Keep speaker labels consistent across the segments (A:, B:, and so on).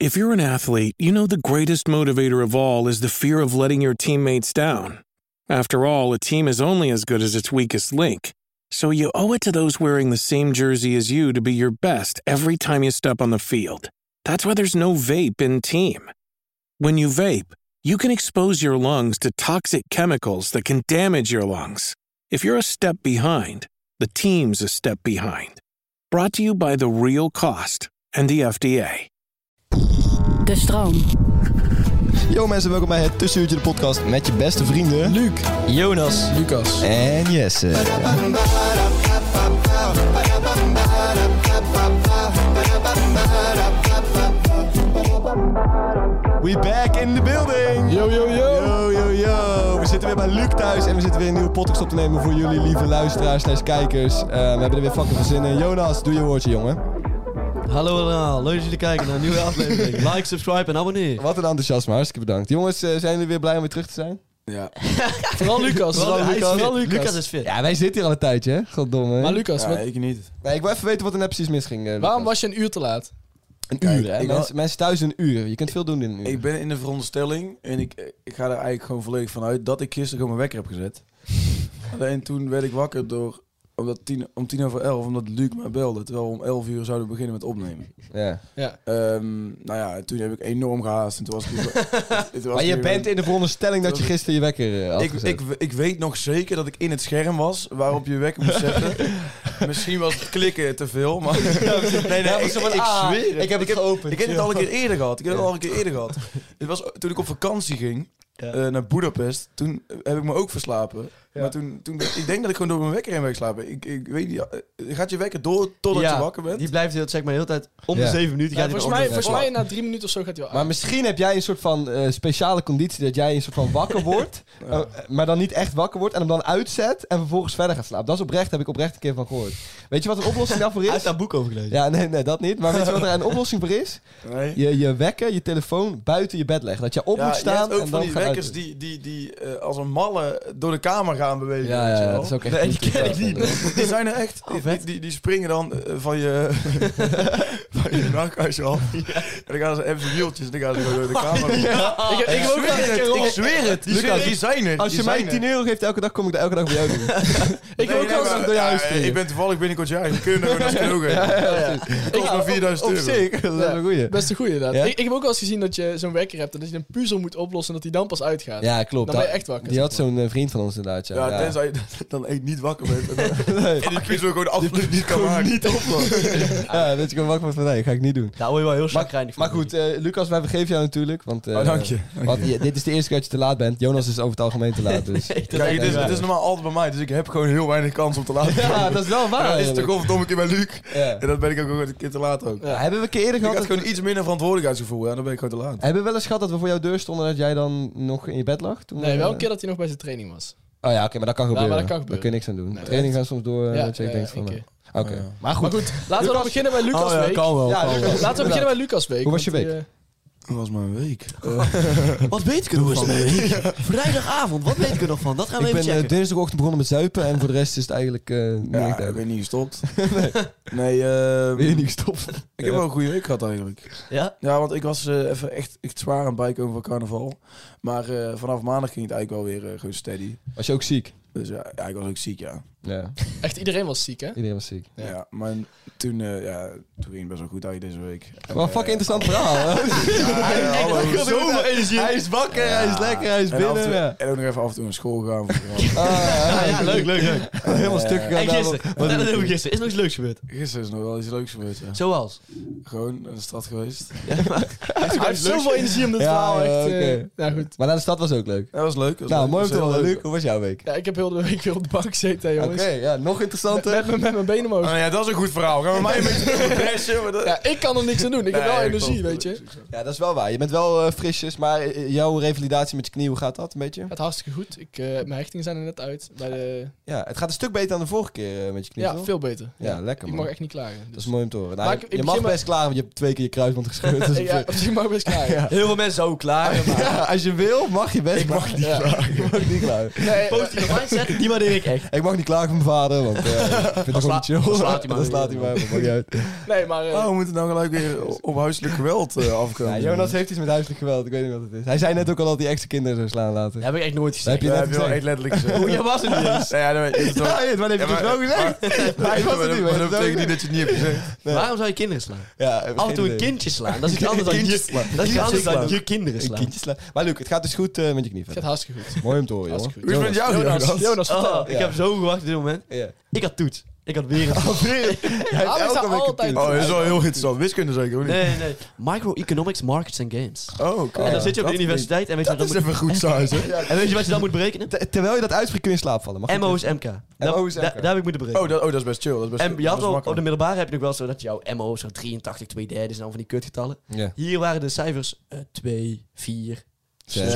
A: If you're an athlete, you know the greatest motivator of all is the fear of letting your teammates down. After all, a team is only as good as its weakest link. So you owe it to those wearing the same jersey as you to be your best every time you step on the field. That's why there's no vape in team. When you vape, you can expose your lungs to toxic chemicals that can damage your lungs. If you're a step behind, the team's a step behind. Brought to you by The Real Cost and the FDA.
B: De stroom.
C: Yo mensen, welkom bij het Tussenuurtje de podcast met je beste vrienden... Luc, Jonas
D: Lucas.
C: en Jesse. We back in the building!
D: Yo, yo, yo.
C: Yo, yo, yo. We zitten weer bij Luc thuis en we zitten weer een nieuwe podcast op te nemen voor jullie lieve luisteraars slash kijkers. Eh, we hebben er weer fucking veel zin in. Jonas, doe je woordje, jongen.
E: Hallo allemaal, leuk dat jullie kijken naar een nieuwe aflevering. Like, subscribe en abonneer.
C: Wat een enthousiasme, hartstikke bedankt. Jongens, eh, zijn jullie weer blij om weer terug te zijn?
D: Ja. Vooral Lucas.
C: Lucas.
E: Vooral Hij is fit.
C: Vooral
D: Lucas.
E: Lucas is fit.
C: Ja, wij zitten hier al een tijdje, hè? Goddomme.
D: Maar Lucas,
F: Ja,
D: wat-
F: ik niet.
C: Nee, ik wil even weten wat er net precies misging. eh,
D: waarom
C: Lucas.
D: was je een uur te laat?
C: Een
F: Kijk,
C: uur, hè?
F: ik
C: Mensen,
F: had-
C: mensen thuis een uur. Je kunt veel doen in een uur.
F: Ik ben in de veronderstelling en ik, ik ga er eigenlijk gewoon volledig van uit dat ik gisteren gewoon mijn wekker heb gezet. Alleen toen werd ik wakker door, omdat tien, om tien over elf, omdat Luc mij belde. Terwijl we om elf uur zouden we beginnen met opnemen.
C: Ja.
D: Ja.
F: Ehm, nou ja, toen heb ik enorm gehaast en toen was ik... toen was
C: Maar
F: ik
C: je
F: weer-
C: bent in de veronderstelling dat je gisteren je wekker eh, had
F: Ik, ik, ik weet nog zeker dat ik in het scherm was waarop je wekker moest zetten. Misschien was het klikken te veel, maar... nee, nee, ik, ik zweer het.
C: ah, Ik heb het geopend.
F: Ik heb het al een keer eerder gehad. Ik heb het al een keer eerder gehad. Het was toen ik op vakantie ging eh, naar Budapest. Toen eh, heb ik me ook verslapen. Maar toen, toen ik denk dat ik gewoon door mijn wekker heen ben geslapen. Ik, ik weet niet. eh, Gaat je wekker door totdat
E: Ja,
F: je wakker bent?
E: Die blijft heel, zeg maar, de hele tijd om de
C: Ja.
E: zeven minuten.
D: Ja,
E: gaat hij
D: volgens
E: weer
D: mij,
E: om de
D: volgens
E: vijf.
D: mij na drie minuten of zo gaat hij wel
C: Maar
D: aan.
C: misschien heb jij een soort van eh, speciale conditie dat jij een soort van wakker wordt, eh, maar dan niet echt wakker wordt en hem dan uitzet en vervolgens verder gaat slapen. Dat is oprecht, heb ik oprecht een keer van gehoord. Weet je wat een oplossing daarvoor
E: Hij heeft
C: is?
E: daar boek over gelezen.
C: Ja, nee, nee, dat niet. Maar weet je wat er een oplossing voor is?
F: nee.
C: Je, je wekker, je telefoon buiten je bed leggen. Dat je op
F: Ja,
C: moet
F: je
C: staan
F: hebt ook
C: en
F: van
C: dan
F: die
C: gaan
F: wekkers
C: uitdoen.
F: die, die, die eh, als een malle door de kamer gaan bewegen.
C: Ja,
F: weet
C: ja,
F: je
C: ja,
F: wel.
C: dat is ook echt
E: Nee,
C: goed
E: die ken ik
C: toestand,
E: niet.
C: hè.
F: Die zijn er echt. Oh, die, die, die springen dan eh, van je, van je nachtkastje af. En dan gaan ze even zijn wieltjes en dan gaan ze gewoon door de kamer.
D: Ik, heb- ik heb ook wel eens een keer
F: Ik
D: gehoord-
F: zweer het. Die,
C: Lucas,
F: zijn- die zijn er.
C: Als je
F: die
C: mij
F: zijn er.
C: 10 euro geeft elke dag, kom ik daar elke dag bij jou doen.
D: ik heb ook wel eens-
C: maar- door je huis springen.
F: eh, Ik ben toevallig binnenkort jaar. We kunnen gewoon naar Skrogen. Het kost maar 4000
C: Op
F: euro.
C: zich, dat is wel een goeie.
D: Best een goeie inderdaad.
C: Ja?
D: Ik, ik heb ook wel eens gezien dat je zo'n wekker hebt en dat je een puzzel moet oplossen en dat die dan pas uitgaat.
C: Ja, klopt. Ah,
D: Dan ben je echt wakker,
C: Die
D: zeg
C: had zo'n eh, vriend van ons inderdaad, ja.
F: Ja,
C: Ja.
F: tenzij je dan echt niet wakker bent. En, dan-
C: Nee.
F: en die puzzel gewoon absoluut niet kan maken. Niet
C: Ja, dat je gewoon wakker wordt van, nee, ga ik niet doen.
D: Nou,
E: Daar word je wel heel chagrijnig van.
C: Maar goed, eh, Lucas, wij vergeven jou natuurlijk, want... eh,
F: Oh, dank je.
C: Want je- dit is de eerste keer dat je te laat bent. Jonas is over het algemeen te laat, dus...
F: Kijk, het is, het is normaal altijd bij mij, dus ik heb gewoon heel weinig kans om te laten.
C: Ja,
F: komen.
C: dat is wel waar.
F: En dan is het
C: eigenlijk.
F: toch of domme keer bij Luc.
C: Ja.
F: En dat ben ik ook gewoon een keer te laat ook.
C: Ja, hebben we een keer eerder
F: Ik
C: gehad...
F: had
C: dat-
F: gewoon iets minder verantwoordelijkheidsgevoel. En dan ben ik gewoon te laat.
C: Hebben we wel eens gehad dat we voor jouw deur stonden en dat jij dan nog in je bed lag? Toen,
D: Nee,
C: eh,
D: wel een keer dat hij nog bij zijn training was.
C: Oh ja, oké, maar dat kan gebeuren.
D: maar dat kan gebeuren.
C: Daar kun je niks aan doen. Training gaan soms door en
D: Ja,
C: dat je
D: ja,
C: denkt
D: ja,
C: van...
D: één
C: eh, Oké, maar goed.
D: Maar goed, laten we dan beginnen bij Lucas
E: Oh ja,
D: Week.
E: kan wel.
C: Ja,
E: kan wel.
C: Lucas.
D: Laten we beginnen bij Lucas Week.
C: Hoe was je
D: want
C: week?
D: die,
F: Dat was mijn week.
E: Wat weet ik er nog van? Vrijdagavond, wat weet ik er nog van? Dat gaan we
C: Ik ben
E: even
C: eh,
E: checken.
C: dinsdagochtend begonnen met zuipen en voor de rest is het eigenlijk eh, niet echt
F: Ja, ik
C: duidelijk.
F: ben niet gestopt. Nee, eh,
C: Weer niet gestopt.
F: ik heb wel een goede week gehad eigenlijk.
E: Ja?
F: Ja, want ik was eh, even echt, echt zwaar aan het bijkomen van carnaval. Maar eh, vanaf maandag ging het eigenlijk wel weer eh, gewoon steady.
C: Was je ook ziek?
F: Dus ja, ja, ik was ook ziek, ja.
C: Ja,
D: eh, echt iedereen was ziek, hè?
C: iedereen was ziek.
F: ja. maar toen, eh, ja, toen ging het best wel goed uit deze week. En,
C: Maar
F: eh,
C: fucking interessant verhaal. hè?
F: ja, ja, hallo.
C: Zoveel energie. Hij is wakker, hij is lekker, hij is
F: En, af en,
C: binnen.
F: toe-
C: ja.
F: en ook nog even af en toe naar school gaan. voor-
C: Ah,
E: Ja, leuk, leuk, leuk.
C: Helemaal stuk gegaan.
E: En
C: daarom.
E: gisteren, dat hebben we gisteren. Is nog iets leuks gebeurd?
F: Gisteren is nog wel iets leuks gebeurd. ja.
E: Zoals?
F: Gewoon naar de stad geweest.
D: Hij heeft zoveel energie om dit
C: Ja,
D: verhaal
C: ja,
D: echt... eh,
C: oké.
D: Nou goed.
C: Maar naar de stad was ook leuk.
F: Dat was leuk. dat was
C: Nou,
F: leuk,
C: mooi om
F: dat
C: te
F: was heel
C: horen.
F: leuk.
C: Luc, hoe was jouw week?
D: Ja, ik heb heel de week weer op de bank gezeten, hè, jongens. jongens.
C: ja, nog interessanter.
D: Met, met, met mijn benen omhoog.
F: Ah, ja, dat is een goed verhaal. Gaan we mij een beetje pressen? maar dat-
D: Ja, ik kan er niks aan doen. Ik heb
F: Nee,
D: wel
F: ik
D: energie,
F: klopt.
D: weet je.
C: Ja, dat is wel waar. Je bent wel eh, frisjes, maar eh, jouw revalidatie met je knie, hoe gaat dat een beetje?
D: Het hartstikke goed. Ik, eh, mijn hechtingen zijn er net uit. Bij de,
C: Ja, het gaat een stuk beter dan de vorige keer eh, met je knie.
D: ja,
C: toch?
D: veel beter.
C: Ja, lekker
D: Ik
C: man.
D: mag echt niet klagen.
C: Dat
D: Dus.
C: is mooi om te horen. Nou,
D: Maar ik- ik
C: je mag
D: begin maar-
C: best klagen, want je hebt twee keer je kruisband gescheurd. Dus op
D: ja,
C: zich-
D: op zich mag ik best klagen.
E: Heel veel mensen ook klaar. maar-
C: Ja, als je wil, mag je best. Ik mag niet klagen. Ik mag niet klagen.
D: Nee, eh,
E: Positieve mindset, die waardeer ik echt.
C: Ik mag niet klagen van mijn vader, want eh, ik vind het gewoon
E: sla-
C: niet chill.
E: dan slaat hij maar
C: Dan slaat hij
E: weer.
C: maar, maar maakt niet uit.
D: nee, maar... eh,
F: Oh, we moeten nou gelijk weer op- op huiselijk geweld eh, afkomen.
C: Ja, Jonas heeft iets met huiselijk geweld, ik weet niet wat het is. Hij zei net ook al dat hij extra kinderen zou slaan laten.
E: Dat heb ik echt nooit
C: Dat heb
E: gezegd.
C: je
F: Ja,
C: net
F: heb je wel
C: gezegd.
F: echt letterlijk gezegd.
E: Oh, jij was het niet eens.
F: Ja, ja, dat weet ik. Dat-
C: Ja, wat heb je
F: Ja,
C: dus
F: maar-
C: wel gezegd?
F: maar-
C: Hij was het
F: maar dat-
C: niet,
F: Maar
C: maar
F: dat
C: dat
F: betekent niet dat je het niet hebt gezegd.
E: Waarom zou je kinderen slaan?
C: Ja,
E: Af en toe een
C: kindje.
E: kindje slaan. Dat is iets anders dan
F: Kindje
E: je, dat is iets anders dan je kinderen
C: Een
E: slaan.
C: kindje slaan. Maar Luc, het gaat dus goed eh, met je knie.
D: Het gaat
C: verder.
D: hartstikke goed.
C: Mooi om te horen, jongen.
D: Hartstikke
F: Hoe is het met jou,
D: Jonas,
F: Jonas?
D: Jonas, vertel.
E: Oh, ik
C: Ja.
E: heb zo gewacht op dit moment.
C: Ja.
E: Ik had toets. Ik had weer een toets.
C: Hij
D: Alex
C: heeft elke
D: zou
C: week een
D: altijd-
C: punt.
F: Oh, dat is wel heel interessant. Wiskunde zeker, of niet?
E: Nee, nee. Microeconomics, markets and games.
F: Oh, oké.
E: en
C: ja.
E: dan zit je op de
F: Dat-
E: universiteit en weet, je
F: Dat
E: wat
F: is
E: dan
F: even goed saus, hè?
E: moet, en weet je wat je dan moet berekenen?
C: Ter- Terwijl je dat uitspreekt kun je in slaap vallen. Mag
E: MO is MK. Daar,
C: MO is MK.
E: daar- daar heb ik moeten berekenen.
F: Oh, dat, oh, dat is best chill. Dat is best
E: en je
F: dat
E: had
F: is
E: al,
F: makkelijk.
E: op de middelbare heb je nog wel zo dat jouw MO zo'n 83, 2 derde is en dan van die kutgetallen.
C: Ja.
E: Hier waren de cijfers eh, 2, 4,
C: Zes.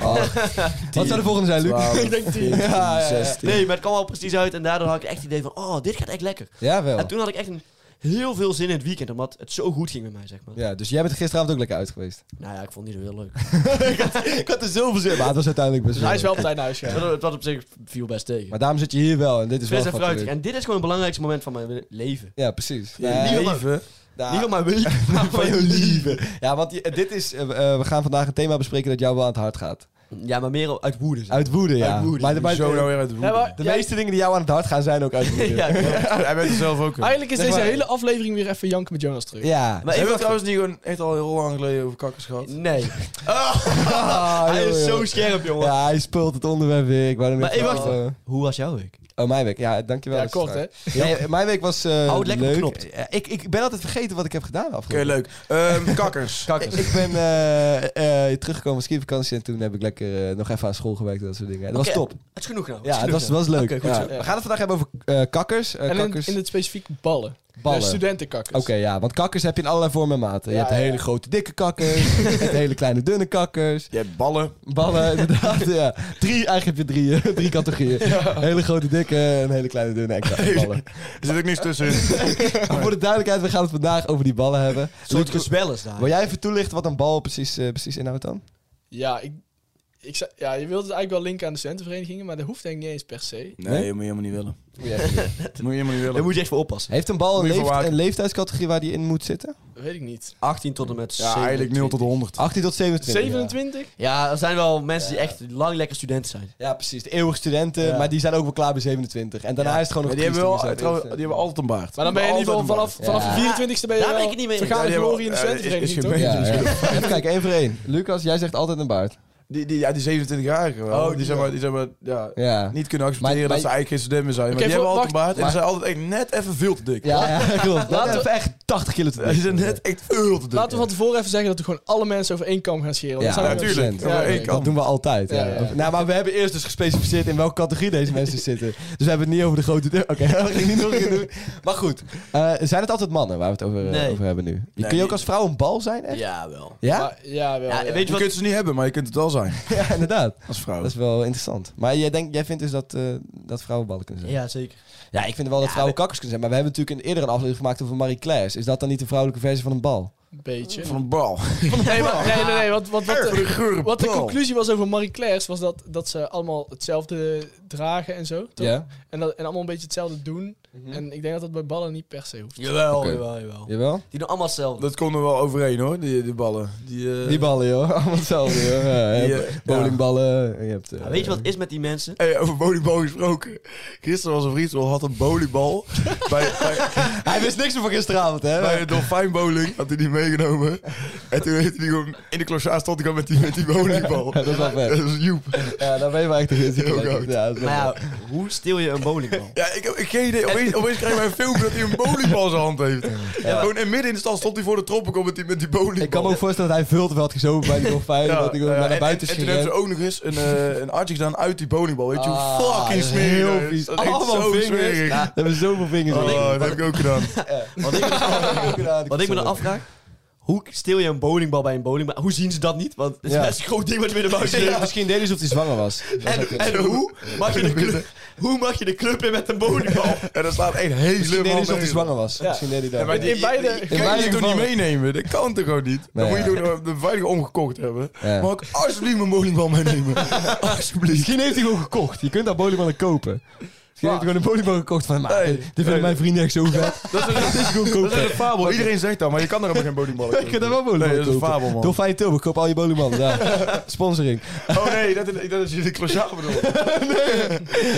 C: Oh,
E: 6.
C: Acht, Wat zou de volgende zijn, Luc?
F: Twaalf,
D: Ik denk tien.
F: veertien,
C: Ja, ja, ja.
F: zestien.
E: Nee, maar het kwam al precies uit en daardoor had ik echt het idee van, oh, dit gaat echt lekker.
C: Ja, wel.
E: En toen had ik echt een, heel veel zin in het weekend, omdat het zo goed ging met mij, zeg maar.
C: Ja, dus jij bent gisteravond ook lekker uit geweest.
E: Nou ja, ik vond het niet zo heel leuk.
C: ik had er zoveel zin Maar het was uiteindelijk best
D: Dus hij is
C: wel.
D: wel op tijd naar huis gegaan.
E: Het was- Het was op zich viel best tegen.
C: Maar daarom zit je hier wel en dit is wel
E: Fris en
C: fucking
E: fruitig.
C: leuk.
E: En dit is gewoon het belangrijkste moment van mijn leven.
C: Ja, precies.
F: Ja,
C: Nee,
F: Leven.
C: nou,
E: Niet van mijn leven, maar
C: van
E: van
C: je
E: je
C: lieve. Ja, want je- dit is, eh, eh, we gaan vandaag een thema bespreken dat jou wel aan het hart gaat.
E: Ja, maar meer uit woede. zeg.
C: Uit woede, ja.
E: Uit woede.
C: Maar, de- maar
F: Zo nou
C: de,
F: weer uit de
D: Ja,
F: woede.
D: maar
C: de
D: jij-
C: meeste dingen die jou aan het hart gaan zijn ook uit woede.
E: ja,
C: ja.
E: klopt.
F: Hij bent er zelf ook. in.
D: Eigenlijk is
C: Zeg
D: deze
C: maar-
D: hele aflevering weer even janken met Jonas terug.
E: Maar
F: Hebben
E: even
F: we trouwens niet gewoon echt al heel lang geleden over kakkers gehad?
E: Nee.
C: Ah,
E: Hij
C: joh,
E: is
C: joh.
E: zo scherp, jongen.
C: Ja, hij speelt het onderwerp weer. Ik wou hem
E: Maar
C: even-
E: hey, wacht.
C: Oh, eh,
E: Hoe was jouw week?
C: oh, mijn week. Ja, dankjewel.
D: Ja,
C: dat is
D: kort hè.
C: waar. Nee, mijn week was eh
E: Hou het lekker
C: leuk.
E: beknopt.
C: Eh, Ik, ik ben altijd vergeten wat ik heb gedaan de
F: Oké,
C: afgelopen
F: leuk. Ehm, kakkers.
C: Ik, ik ben eh, eh, teruggekomen van skivakantie en toen heb ik lekker eh, nog even aan school gewerkt en dat soort dingen. Dat
E: Oké,
C: was top.
E: Het is genoeg nou.
C: Ja, het
E: genoeg
C: was,
E: nou.
C: was leuk.
E: Oké, goed
C: Ja.
E: zo.
C: We gaan het vandaag hebben over eh, kakkers. eh,
D: En in,
C: kakkers,
D: in het specifiek ballen.
C: ballen.
D: De studentenkakkers.
C: Oké, ja, want kakkers heb je in allerlei vormen en maten. Je
D: Ja,
C: hebt
D: ja,
C: hele
D: ja.
C: grote dikke kakkers, je hebt hele kleine dunne kakkers,
F: Je hebt ballen.
C: ballen inderdaad. Ja. Drie, eigenlijk heb je drie, eh, drie categorieën. Hele grote dikke en hele kleine dunne en kleine ballen.
F: Er zit ook niks tussen.
C: Maar voor de duidelijkheid, we gaan het vandaag over die ballen hebben.
E: Een soort gezwel is daar.
C: Wil jij even toelichten wat een bal precies, eh, precies inhoudt dan?
D: Ja, ik, ik, zou- ja, je wilt het eigenlijk wel linken aan de studentenverenigingen, maar dat hoeft denk ik niet eens per se.
F: Nee, je moet je helemaal niet willen.
C: Moet jij even doen.
F: Moet je helemaal niet
E: Daar
F: willen.
E: moet je echt voor oppassen.
C: Heeft een bal een,
F: Moet je
C: leeft-
F: verwaken.
C: een leeftijdscategorie waar die in moet zitten?
D: Weet ik niet.
E: 18 tot en met
F: Ja, eigenlijk 0 tot 100.
C: 18 tot 27.
D: 27?
E: Ja, er zijn wel mensen die echt lang lekker studenten zijn.
C: Ja, precies. De eeuwige studenten, maar die zijn ook wel klaar bij 27. En daarna
E: Ja.
C: is het gewoon
F: Maar
C: nog
F: die hebben, wel,
C: triest om
F: eh,
C: jezelf
F: trouwens,
C: in
F: die
C: te
F: hebben altijd een baard.
D: Maar dan ben je in ieder geval vanaf,
F: Altijd een
D: vanaf
C: Ja.
D: de 24 e ben je
E: Daar
D: wel
E: ben ik het niet mee eens.
F: baard.
D: vergaande
F: Ja, die
D: glorie in de
F: hebben- ja, is- is
D: studentenvereniging, toch?
F: gemeen.
C: zetten. Ja, ja. Even kijken, één voor één. Lucas, jij zegt altijd een baard.
F: Die, die, ja, die 27-jarigen wel. Oh, die zijn maar, die zijn maar ja,
C: Ja.
F: niet kunnen accepteren
C: Maar- maar-
F: dat ze eigenlijk geen student meer zijn.
D: Oké,
F: maar die
D: voor-
F: hebben altijd een baard en
C: maar-
F: ze zijn altijd echt net even veel te dik.
C: Ja, ja klopt. Dat
D: we-
C: is echt 80 kilo te
F: Ze zijn net echt veel te dik.
D: Laten we van tevoren even zeggen dat we gewoon alle mensen over één kam gaan scheren. want
C: Ja,
D: dat zijn
F: natuurlijk.
D: mensen. Ja,
F: Ja,
D: ja,
F: ik
C: Dat doen we altijd. Ja.
D: Ja, ja, ja.
C: Nou, maar we hebben eerst dus gespecificeerd in welke categorie deze mensen zitten. Dus we hebben het niet over de grote deur. Oké, dat ging ik niet nog een keer doen. Maar goed, eh, zijn het altijd mannen waar we het over, eh,
E: Nee.
C: over hebben nu?
F: Nee.
C: Kun je ook als vrouw een bal zijn? Echt? Ja?
E: Ja, wel.
C: Ja,
D: Maar- ja, wel,
E: Ja,
D: Ah, ja.
E: Weet
F: Je
E: je wat...
F: kunt ze niet hebben, maar je kunt het wel zijn.
C: inderdaad.
F: Als vrouw.
C: Dat is wel interessant. Maar jij, denkt, jij vindt dus dat, eh, dat vrouwen ballen kunnen zijn?
E: Ja, zeker.
C: Ja, ik vind wel dat vrouwen kakkers kunnen zijn. Maar we hebben natuurlijk een, eerder een aflevering gemaakt over Marie Claire. Is dat dan niet de vrouwelijke versie van een bal?
D: een beetje.
F: Van een bal.
D: Nee, maar, nee, nee, nee. Wat, wat, wat,
F: Erg,
D: de,
F: een gure
D: wat de
F: bal.
D: conclusie was over Marie Claire's was dat, dat ze allemaal hetzelfde dragen en zo. Toch?
C: Ja.
D: En, dat, en allemaal een beetje hetzelfde doen. En ik denk dat dat bij ballen niet per se hoeft.
E: Jawel,
C: Oké.
E: jawel, jawel.
C: Jawel?
E: Die doen allemaal hetzelfde.
F: Dat komt er wel overheen hoor, die, die ballen. Die, eh,
C: Die ballen, joh. Allemaal hetzelfde, joh. Ja, je
F: Die,
C: hebt
F: eh,
C: bowlingballen. Je hebt, eh,
E: Ja, weet je wat is met die mensen?
F: Hey, over volleybal gesproken. Gisteren was een vriend, wel had een volleybal. bij, bij,
C: Hij wist niks meer van gisteravond, hè?
F: bij een dolfijnbowling had hij die meegenomen. En toen heeft hij gewoon... In de klossaar stond ik al met die, met die bowlingbal.
C: dat is wel vet.
F: Dat is Joep.
C: Ja, daar ben je wel echt een
F: Heel
C: gezicht.
F: goud.
C: Ja, dat is wel
E: Maar
C: vet.
E: ja, hoe steel je een bowlingbal?
F: Ja, ik heb ik heb geen idee. Opeens, opeens krijgen wij een filmpje dat hij een bowlingbal in zijn hand heeft. Gewoon en midden in de stad stond hij voor de troppen met die, met die bowlingbal.
C: Ik kan me ook voorstellen dat hij vult wel had gezopen bij die dolfijn.
F: Ja,
C: dat ik
F: ja,
C: naar
F: en,
C: buiten
F: en,
C: is
F: en toen hebben ze
C: gerend.
F: ook nog eens een, eh een artje gedaan uit die bowlingbal. Weet je
C: Ah,
F: hoe fucking
C: dat is
F: smerig
C: heel
F: dat is?
C: vies.
F: Dat is echt
C: Allemaal
F: zo
C: vingers.
F: smerig.
C: We hebben zoveel vingers. in.
F: Oh, dat heb ik ook gedaan.
E: Wat ik,
C: gedaan.
E: wat ik me dan afvraag... Hoe steel je een bowlingbal bij een bowlingbal? Hoe zien ze dat niet? Want het is
C: Ja.
E: best een groot ding wat je met de buiten
C: Misschien-
E: hebt.
C: Misschien deden ze of hij zwanger was.
E: En, en hoe, mag je de club, hoe mag je de club in met een bowlingbal?
F: En dan slaat één
C: Misschien
F: hele
C: deden
F: man
C: ze of hij
F: mee.
C: zwanger was.
D: Ja.
C: Misschien deed hij dat.
F: Ja, maar die,
D: In beide-
F: die- die
C: in
F: kan je
C: beide
F: toch niet
C: gevallen.
F: meenemen? Dat kan toch gewoon niet?
C: Nee,
F: dan moet
C: ja.
F: je toch de veilige omgekocht hebben.
C: Ja.
F: Mag ik alsjeblieft mijn bowlingbal meenemen? alsjeblieft.
C: Misschien heeft hij gewoon gekocht. Je kunt daar bowlingballen kopen. Misschien heeft hij gewoon een bowlingbal gekocht van... Maar,
F: Hey.
C: dit vinden mijn vrienden echt zo vet.
F: Dat is
C: Dit is gewoon
F: dat is
C: kopen.
F: een fabel. Iedereen zegt dat, maar je kan er helemaal geen bowlingballen
C: Ik kan daar wel bowlingballen
F: Nee, dat is een
C: kopen.
F: fabel, man.
C: Dolfijn Tilburg, koop al je bowlingballen. Daar. Sponsoring.
F: Oh nee, dat, is- dat is jullie klasjaar bedoeld.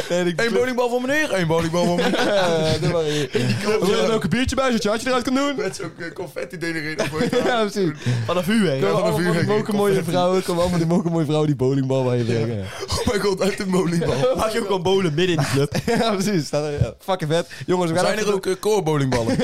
C: Nee, ik...
F: Eén bowlingbal voor meneer, één bowlingbal voor meneer.
C: Eh, doe maar hier.
F: club,
C: Wil je
F: ja.
C: er ook een biertje bij, zodat je hartje eruit kan doen?
F: Met zo'n eh, confetti ding erin.
C: Ja, precies.
E: Vanaf u, hè?
F: Ja,
C: Komen allemaal
F: van een
C: van die
F: vuurwerk.
C: mokken mooie vrouwen, komen allemaal die mokken mooie vrouwen die bowlingbal bij je brengen.
F: Oh mijn god, uit de bowlingbal.
E: Mag je ook wel bowlen midden in de club?
C: Ja, precies. Staat er, ja. Fucking vet. Jongens, we gaan
F: Zijn
C: even
F: er ook eh, koorbowlingballen?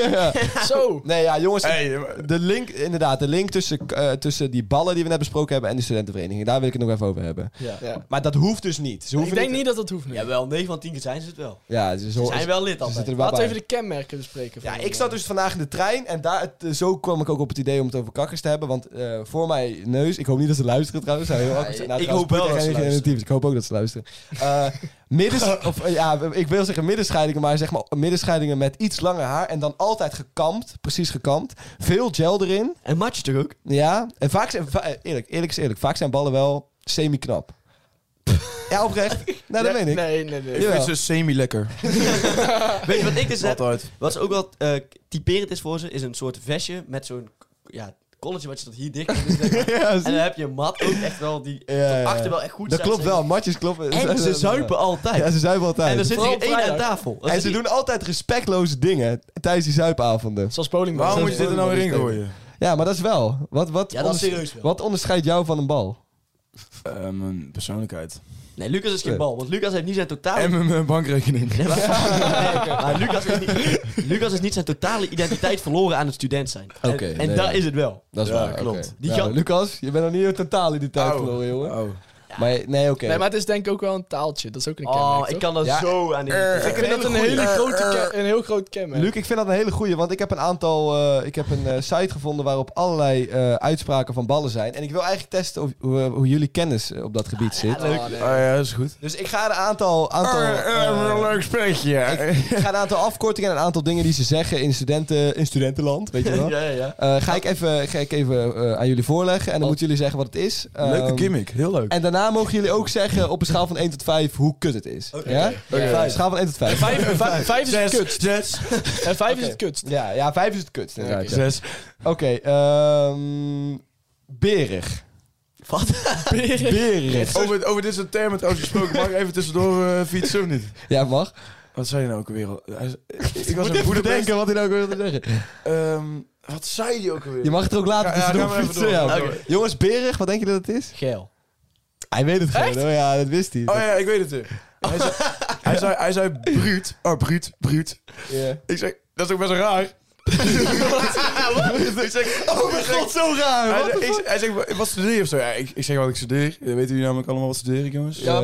D: Zo.
C: Nee, ja, jongens.
F: Hey, maar-
C: De link, inderdaad, de link tussen, eh, tussen die ballen die we net besproken hebben en de studentenvereniging. Daar wil ik het nog even over hebben.
E: Ja.
D: Ja.
C: Maar dat hoeft dus niet. Ze
D: Ik
C: hoeven
D: denk niet dat dat hoeft nu.
E: Jawel, 9 van 10 keer zijn ze het wel.
C: Ja, ze,
E: Ze zijn wel lid
C: ze
E: altijd.
C: zitten er wel
D: Laten we
C: bij.
D: even de kenmerken bespreken.
C: Ja,
D: van,
C: ik zat
D: eh,
C: dus vandaag in de trein en daar, het- eh, zo kwam ik ook op het idee om het over kakkers te hebben. Want eh, voor mijn neus, ik hoop niet dat ze luisteren trouwens. Zou heel awkward zijn. Nou,
E: ik
C: trouwens,
E: hoop wel
C: Pieter
E: dat ze
C: en Eugene
E: luisteren.
C: en Tief, Ik hoop ook dat ze luisteren. Eh, middens, of, eh, ja, ik wil zeggen middenscheidingen, maar zeg maar middenscheidingen met iets langer haar. En dan altijd gekamd, precies gekamd. Veel gel erin.
E: En match toch ook?
C: Ja, en vaak zijn, va- eh, eerlijk, eerlijk is eerlijk, vaak zijn ballen wel semi-knap. ja, oprecht. Nou, dat
D: ja,
C: meen ik.
D: Nee, nee, nee.
F: Ik
C: Ja.
F: vind ze semi-lekker.
E: Weet je wat ik dus heb?
F: Altijd.
E: Wat ze ook wel eh, typerend is voor ze, is een soort vestje met zo'n ja, colletje wat je tot hier dicht kan doen, zeg maar.
C: Ja, zie-
E: En dan heb je een mat ook echt wel die
C: Ja, ja, ja.
E: achter wel echt goed
C: dat
E: zijn,
C: klopt
E: zeg maar.
C: wel, matjes kloppen.
E: En ze zuipen altijd.
C: eh, Ja, ze zuipen altijd.
E: en er zit
D: Vooral
E: hier één aan
D: vrijdag.
E: tafel. Er
C: En
E: zit
C: ze
E: hier-
C: doen altijd respectloze dingen tijdens die zuipavonden.
D: Zoals bowlingbal.
F: Waarom moet je dit er nou weer in gooien?
C: Ja, maar dat is wel. Wat, wat,
E: Ja, dat is
C: onders-
E: serieus wel.
C: wat onderscheidt jou van een bal?
F: Eh, mijn persoonlijkheid.
E: Nee, Lucas is geen bal, want Lucas heeft niet zijn totaal.
F: En mijn, mijn bankrekening.
E: Nee, maar, Nee, maar Lucas, is niet, Lucas is niet zijn totale identiteit verloren aan het student zijn. En-
C: Oké,
E: en
C: nee,
E: dat
C: ja.
E: is het wel.
C: Dat
F: is Ja, waar, klopt. oké.
C: Die
E: Die
C: ja,
E: gat-
C: Lucas, je bent nog niet totaal in die tijd
F: Au.
C: verloren, jongen.
F: Oh.
C: Maar nee, oké.
D: Nee, maar het is denk ik ook wel een taaltje. Dat is ook een
E: Oh,
D: kenmerk, toch?
E: ik kan eh, dat
C: Ja. Eh,
E: zo aan die.
D: Ik vind dat een, hele grote ke- een heel groot kenmerk.
C: Luc, ik vind dat een hele goeie, want ik heb een aantal... eh, ik heb een eh, site gevonden waarop allerlei eh, uitspraken van ballen zijn. En ik wil eigenlijk testen of, hoe, hoe jullie kennis eh, op dat gebied zit.
D: Oh, nee.
F: Ah, ja, dat is goed.
C: Dus ik ga een aantal... aantal eh,
F: leuk spelletje.
C: ik ga een aantal afkortingen en een aantal dingen die ze zeggen in, studenten, in studentenland, weet je wel.
E: Ja, ja, ja.
C: Eh, ga ik even, ga ik even eh, aan jullie voorleggen en dan moeten jullie zeggen wat het is. Ehm,
F: Leuke gimmick, heel leuk.
C: En daarna mogen jullie ook zeggen op een schaal van 1 tot 5 hoe kut het is. Ja? Ja, Schaal van 1 tot 5.
D: Vijf, vijf- vijf is het kutst.
F: Zes.
D: En vijf is het kutst.
C: Ja, ja, 5 is het kut. inderdaad, ja.
F: Zes.
C: Oké, ehm berig.
E: Wat?
C: Berig.
F: Over, over dit soort termen trouwens gesproken, mag ik even tussendoor eh, fietsen of niet?
C: Ja, mag.
F: Wat zei je nou ook weer? al? Hij is- Ik,
C: Moet
F: ik was een
C: even
F: Boedapest.
C: bedenken wat hij nou ook wilde zeggen.
F: Ehm, wat zei je ook weer?
C: Je mag het er ook later
F: Ja, ja,
C: tussendoor
F: ga maar even
C: fietsen. ja.
F: door, ga maar door.
C: Jongens, berig, wat denken jullie dat het is?
E: Geil.
C: Hij weet het gewoon hoor, ja, dat wist hij.
F: Oh ja, ik weet het weer. Hij zei, hij zei, hij zei bruut. Oh, bruut, bruut.
C: Ja.
F: Ik zeg, dat is ook best wel raar. ik zeg, oh mijn god.
C: Zo raar,
F: Hij, zei- ik- hij zegt, wat studeer je of zo? Ja, ik, ik zeg wat ik studeer. Eh, Weten jullie namelijk allemaal wat studeer ik, jongens?
C: Ja,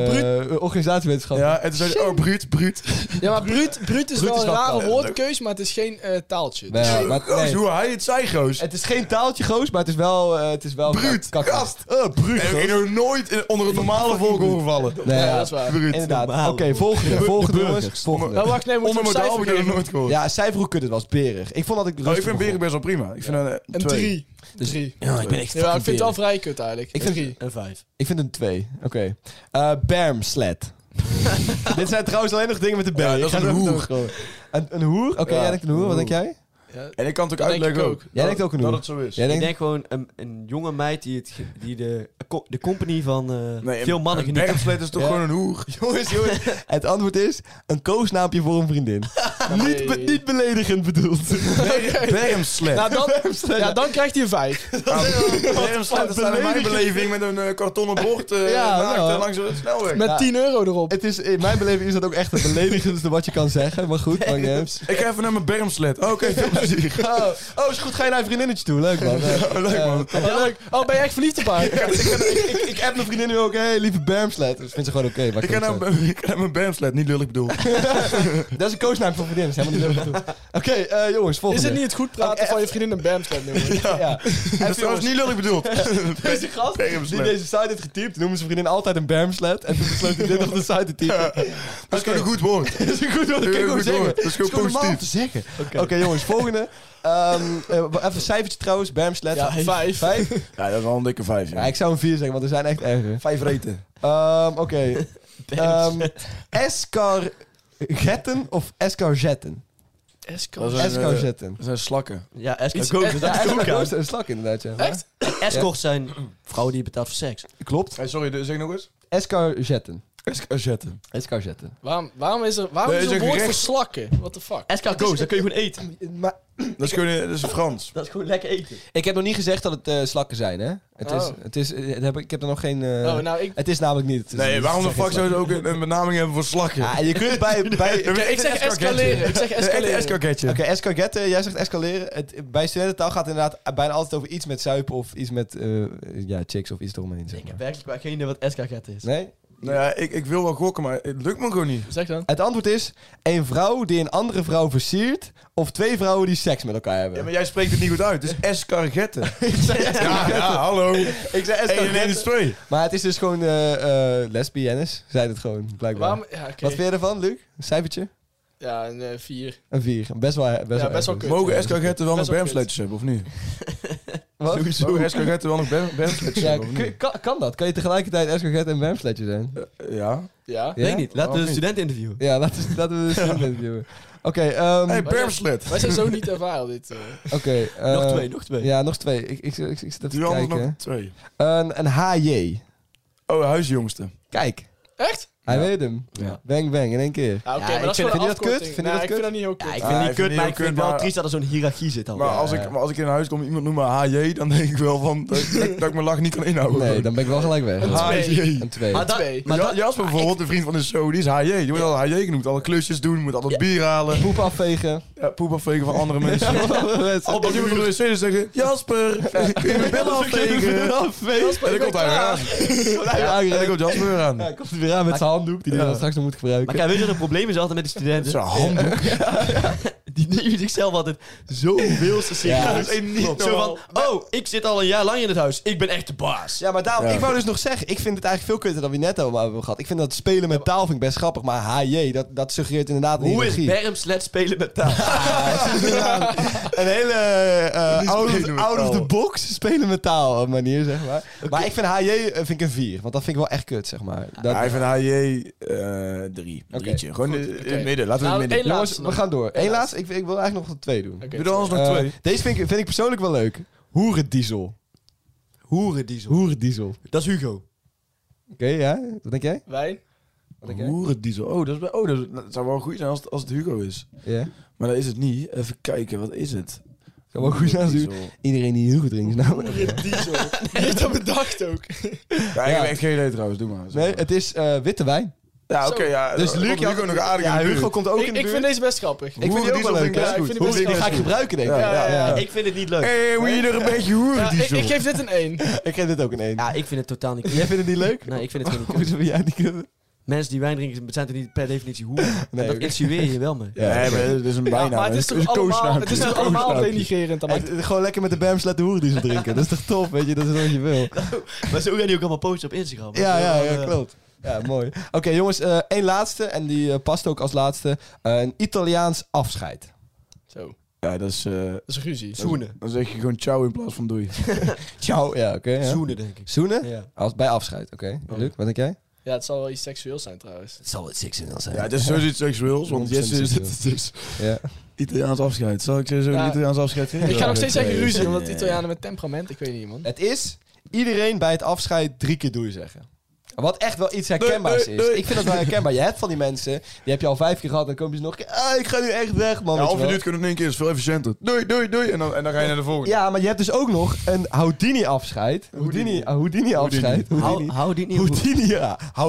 C: organisatiewetenschap.
F: eh, Ja, en toen zei hij, oh, bruut, bruut.
D: Ja, maar bruut, bruut is
C: Bruut
D: wel
C: is
D: een
C: wel
D: rare
C: taal.
D: woordkeus, maar het is geen eh, taaltje.
C: Nee,
D: Dus-
C: maar-
F: Goos,
C: nee.
F: hoe hij het zei, goos.
C: Het is geen taaltje, goos, maar het is wel... eh, het is wel
F: Bruut,
C: kak- kakker.
F: gast. Eh, bruut,
C: goos.
F: Ik ben nog nooit in- onder het normale volk ongevallen.
C: Nee,
D: Ja,
C: ja.
D: dat is waar.
F: Bruut.
C: Inderdaad. Oké,
E: Normaal.
C: volgende. Volgende, jongens.
D: Nou,
C: Volgende.
D: wacht, nee, we moeten een
F: Ondermodaal
D: cijfer
F: heb ik dat nog
D: geven.
F: nooit gehoord.
C: Ja, cijfer hoe kut het was. Berig. Ik vond dat ik
F: Oh,
C: rustig
F: ik
C: begon.
F: vind beren best wel prima. Ik vind een, eh,
D: Een
F: twee.
D: drie. drie.
E: Ja, ik ben echt
D: Ja, maar ik vind het al vrij kut eigenlijk.
C: Ik
D: Ik
C: vind-
D: vind drie.
E: Een vijf.
C: Ik vind een 2. Oké. Eh Berm slat. Dit zijn trouwens alleen nog dingen met de berm.
F: Ja, dat is een hoer.
C: Een, een hoer? Oké,
F: Ja,
C: jij denkt een hoer. Wat
F: een
C: denk jij?
D: Ja,
F: En ik kan het
D: Dat
F: ook
D: denk
F: uitleggen
D: ik
F: ook.
D: ook.
C: Jij denkt ook een
F: dat
C: hoer.
F: het zo is.
C: Jij
E: Ik
C: denkt,
E: denk gewoon een, een jonge meid die, het, ge- die de, co- de company van eh,
F: Nee,
E: veel mannen
F: een
E: geniet.
F: bergflat is toch
C: Ja.
F: gewoon een hoer?
C: jongens, jongens. Het antwoord is een koosnaampje voor een vriendin. niet, be-
D: nee.
C: niet beledigend bedoeld.
F: Bermslet.
D: Nou, dan, ja, dan krijgt hij een vijf.
F: Bermslet, dat staat in mijn beleving met een eh, kartonnen bord eh
C: Ja,
F: naakt,
C: nou.
F: eh, langs de snelweg.
D: Met
C: Ja.
D: 10 euro erop.
C: Het is, in mijn beleving is dat ook echt het beledigendste wat je kan zeggen. Maar goed, maar games.
F: Ik ga even naar mijn bermslet. Oh, Oké, veel plezier.
C: Oh, oh, is goed. Ga je naar een vriendinnetje toe. Leuk, man. Eh,
F: Ja, leuk, man.
D: Oh, leuk. Oh, ben je echt verliefd op haar?
C: ik, ik, ik app mijn vriendin nu ook. Hé, hey, lieve Bermslet. Dat vindt ze gewoon oké. maar
F: Ik
C: ik
F: ga
C: kan
F: naar
C: het
F: mijn- ik ga naar mijn bermslet, niet lullig bedoeld.
C: zeggen. Dat is een koosnaam voor vriendin. Dat is helemaal niet leuk. Oké, eh, jongens,
D: Is
C: volgende.
D: het niet het goed praten van je vriendin een Bamslet noemen?
C: Ja.
F: Dat is trouwens niet lullig bedoeld.
C: Deze gast die
F: Bermslet.
C: deze site heeft getypt, noemde zijn vriendin altijd een Bermslet. En toen besloot hij dit op de site te typen.
F: Dat is gewoon een goed woord.
C: Dat is een goed woord, dat kan ik
F: Heel
C: gewoon
F: goed
C: zeggen.
F: woord. Dat is gewoon
C: normaal om te
F: positief.
C: zeggen. Oké, jongens, volgende. Ehm, eh, even een cijfertje trouwens, Bermslet.
D: Ja, vijf.
C: Vijf?
F: Ja, dat is wel een dikke vijf,
C: Ja, ik zou een vier zeggen, want er zijn echt erger.
F: Vijf reten.
C: Ehm, Oké. Ehm escargetten of escargetten?
F: Dat is een, eh,
C: Escargetten.
F: Dat zijn slakken.
E: Ja,
D: Iets-
E: escort.
D: eh,
E: dat
C: Ja,
E: is ook
C: escargoten
E: aan.
C: zijn een slak inderdaad, ja.
D: Echt?
E: Escorts zijn vrouwen die je betaalt voor seks.
C: Klopt.
F: sorry, zeg nog eens.
C: Escargetten.
F: Escargetten.
C: Escargetten.
D: Waarom, waarom is er, waarom
F: Nee,
D: is er
F: is
D: een
F: een
D: woord voor
F: gerecht.
D: slakken? What the fuck?
E: Escargots, dat kun je gewoon eten.
C: Maar
F: Dat is gewoon eh, dat is Frans.
E: Dat is gewoon lekker eten.
C: ik heb nog niet gezegd dat het eh, slakken zijn, hè? Het is,
D: Oh.
C: het is, eh, het heb, ik- ik heb er nog geen... eh,
D: Oh, nou, ik,
C: Het is namelijk niet. Het is-
F: Nee, waarom de
C: het is
F: fuck zou je ook een, een benaming hebben voor slakken?
C: Ah, je kunt bij... bij
F: Ja, maar
D: ik zeg escaleren. Ik zeg
F: Escaleren.
D: escaleren.
F: Escaleren.
C: Oké, escargetten, jij zegt escaleren. Het, bij studententaal gaat het inderdaad bijna altijd over iets met zuipen of iets met eh, ja, chicks of iets eromheen. Zeg
E: Ik
C: maar.
E: heb werkelijk waar geen idee wat escargot is.
C: Nee?
F: Nou ja, ik, ik wil wel gokken, maar het lukt me gewoon niet.
D: Zeg dan.
C: Het antwoord is een vrouw die een andere vrouw versiert of twee vrouwen die seks met elkaar hebben.
F: Ja, maar jij spreekt het niet goed uit. Het is escargetten. ja, ja, hallo.
C: Ik zei
F: 1 en 1 is 2.
C: Maar het is dus gewoon eh eh lesbiennes, zei het gewoon, blijkbaar.
D: Waarom? Ja, oké.
C: Wat vind je ervan, Luc? Een cijfertje?
D: Ja, een eh, vier.
C: Een vier. Best wel best wel
D: ja, best wel
C: erg.
D: kut.
F: Mogen escargetten wel nog
D: Best wel kut.
F: bermsletjes hebben, of niet?
C: Wat?
F: Mogen escargetten wel nog berm- bermsletjes
C: Ja,
F: hebben, of
C: kun-
F: niet?
C: kan, kan dat? Kan je tegelijkertijd escargetten en wermsletje zijn?
F: Eh, Ja.
D: Ja.
C: Ja?
E: Weet ik niet. Laten we
F: Waarom
E: de student interviewen.
C: Ja, laten we, laten we de student interviewen. Oké, ehm,
F: hey, bermslet.
D: Wij zijn zo niet ervaren dit. eh.
C: oké.
E: Nog
C: eh,
E: twee, nog twee.
C: Ja, nog twee. Ik, ik, ik, ik zit even
F: Doe
C: te
F: anders
C: kijken.
F: nog twee.
C: Een, een HJ.
F: Oh, huisjongste.
C: Kijk,
D: Echt?
C: hij
F: Ja.
C: weet hem.
F: Ja.
C: Bang, bang, in één keer.
D: Ja, oké,
E: Ja,
D: maar dat is
E: ik
C: vind-
D: gewoon een
C: vind je dat kut?
D: afkorting.
C: Vind je
D: Nee,
C: dat
D: ik
C: kut?
D: vind dat niet heel
E: Ja,
D: kut.
E: ik
F: Ah,
E: vind het
F: ik vind
E: niet kut,
F: het
E: maar
F: heel
E: ik vind
F: kut,
E: het wel
F: maar-
E: triest dat er zo'n hiërarchie zit al.
F: Maar als, ik, maar als ik in huis kom iemand noemt me HJ, dan denk ik wel van dat, ik- dat ik mijn lach niet kan inhouden.
C: Nee, dan ben ik wel gelijk weg.
F: HJ.
C: Een twee.
E: Maar dat-
D: Twee.
E: maar
F: Ja,
E: dat-
F: Jasper bijvoorbeeld, de vriend van de show, die is HJ. Die wordt al HJ genoemd. Alle klusjes doen, moet altijd bier halen.
C: Poep afvegen.
F: Ja, poep afvegen van andere mensen. Al dat iemand op de wc zit, zeggen, Jasper, kun je mijn billen afvegen? En dan komt hij weer aan. Ja, en dan komt Jasper weer aan.
C: Hij komt weer aan met zijn handdoek, die hij
F: Ja.
C: dan straks nog moet
E: Maar
C: gebruiken.
E: kijk, weet je wat het probleem is altijd met die studenten?
F: Zijn handen.
E: Die nemen zichzelf altijd zoveel te serieus.
C: Ja,
F: dat is echt niet
E: Zo van, oh, ik zit al een jaar lang in het huis. Ik ben echt de baas.
C: Ja, maar daarom,
F: Ja.
C: ik wou dus nog zeggen, ik vind het eigenlijk veel kutter dan we net over hebben gehad. Ik vind dat spelen met taal vind ik best grappig, maar HJ, dat, dat suggereert inderdaad een
E: Hoe is
C: hiërarchie.
E: Bermslet spelen met taal?
C: Ah, Een hele eh,
F: Die
C: out,
F: spelen
C: of,
F: met
C: out of
F: taal.
C: the box spelen met taal eh, manier, zeg maar. Maar ik vind HJ eh, vind ik een 4, want dat vind ik wel echt kut, zeg maar. Dat,
F: Hij vindt HJ eh, drie. Drietje. Gewoon in in het midden. Laten we in
D: Nou,
F: het midden.
D: één
C: jongens,
D: laatste
C: we
D: nog.
C: gaan door. Eén laatste, ik, ik wil eigenlijk nog twee doen.
D: Oké,
F: Doe er anders nog
C: Eh,
F: twee.
C: Deze vind ik, vind ik persoonlijk wel leuk. Hoerendiesel.
E: Hoerendiesel.
C: Hoerendiesel. Oké,
E: Dat is Hugo.
C: ja? Wat denk jij?
D: Wijn?
C: Wat denk jij?
F: Hoerendiesel. Oh, dat, is, wel- oh, dat, is- dat zou wel goed zijn als, het- als het Hugo is.
C: Ja.
F: Maar dat is het niet. Even kijken, wat is het?
C: Kan wel goed zijn.
F: Diesel.
C: Iedereen die Hugo drinkt is nou...
D: Diesel. Die heeft dat bedacht ook.
F: Ja, ik heb echt geen idee trouwens, doe maar.
C: Nee, het is eh, witte wijn.
F: ja,
D: Zo.
F: oké, ja.
C: Dus
F: dan
C: Luc,
F: komt
C: ja,
F: Hugo nog aardig in
C: Ja,
F: de buurt.
C: Hugo komt ook in
D: Ik,
C: de
D: ik
C: buurt.
D: vind deze best grappig.
C: Ik vind die ook wel leuk.
F: Hoerendiesel
C: Ja,
F: vind
C: ik
F: ik
C: vind
D: best
C: die ga ik
F: goed.
C: gebruiken, denk ik.
F: Ja, ja, ja.
E: Ik vind het niet leuk.
F: Hé, hoe je er een beetje
D: Ja, ik,
F: hoerendiesel?
D: ik geef dit een 1.
C: Ik geef dit ook een 1.
E: Ja, ik vind het totaal niet
C: Jij
E: kut.
C: vindt het niet leuk?
E: Nee, ik vind het gewoon niet
C: Hoezo
E: kut.
C: vind jij niet kunnen?
E: Mensen die wijn drinken zijn toch niet per definitie hoeren?
C: Nee,
E: dat
C: oké.
E: insinueer je wel mee.
C: Ja,
F: Nee, maar dat is een bijnaam.
D: maar het is
F: hè.
D: toch
F: een
D: allemaal,
F: koosnaampje.
D: het is
F: Een
D: toch allemaal
F: koosnaampje.
D: denigrerend. Dat
C: Het-
D: maakt-
C: het- Eh, gewoon lekker met de Bams laten hoeren die ze drinken. Dat is toch top, weet je? Dat is wat je wil.
E: Maar zo gaan die ook allemaal posten op Instagram.
C: Ja, ja, ja,
E: Eh,
C: klopt. Ja, mooi. Oké, jongens, eh één laatste. En die eh, past ook als laatste. Eh, een Italiaans afscheid.
D: Zo, dat
F: Ja, dat is... eh,
D: is een ruzie.
E: Zoenen.
F: Dan zeg je gewoon ciao in plaats van doei.
C: Ciao. Ja, oké. ja.
E: Zoenen, denk ik.
C: Zoenen?
E: Ja.
C: Als, bij afscheid, oké. Luc, wat denk jij?
D: Ja, het zal wel iets seksueels zijn trouwens.
C: Het zal het 6 in zijn.
F: Ja, het is sowieso iets seksueels, want Jesse is...
C: Ja.
F: Italiaans afscheid. Zal ik sowieso
D: Ja.
F: een Italiaans afscheid geven?
D: Ik ga nog steeds zeggen
F: Nee.
D: ruzie, omdat Italianen met temperament, ik weet niet, man.
C: Het is iedereen bij het afscheid drie keer doei zeggen. Wat echt wel iets herkenbaars
F: Nee, nee, nee.
C: is. Ik vind dat wel herkenbaar. Je hebt van die mensen, die heb je al vijf keer gehad, dan komen ze nog een keer. Ah, ik ga nu echt weg, man. weet je
F: Ja, half
C: wel.
F: minuut kunnen in één keer is veel efficiënter. Doei, doei, doei. En dan, en dan ga je naar de volgende.
C: Ja, maar je hebt dus ook nog een Houdini-afscheid. Houdini- Houdini-afscheid.
E: Hou,
C: Houdini.
E: hou dit niet op.
C: Houdini, ja.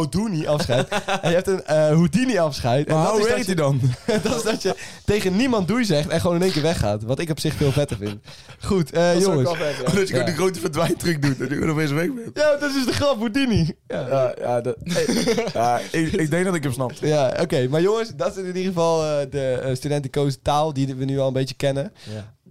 C: Houdini-afscheid. en je hebt een eh, Houdini-afscheid. En
F: Maar
C: dat
F: hoe
C: is dat
F: werkt
C: je-
F: hij dan?
C: dat is dat je tegen niemand doei zegt en gewoon in één keer weggaat. Wat ik op zich veel vetter vind. Goed, eh,
D: Dat is ook
C: jongens.
D: wel vet, ja.
F: Dat je
C: Ja.
F: gewoon de grote verdwijntruc doet. Dat je gewoon opeens weg bent.
C: Ja, dat is de grap, Houdini. Ja,
F: Ja, ja, dat, ja ik, ik denk dat ik hem snap.
C: ja oké. Maar jongens, dat is in ieder geval eh, de eh, studentenkozen taal die we nu al een beetje kennen.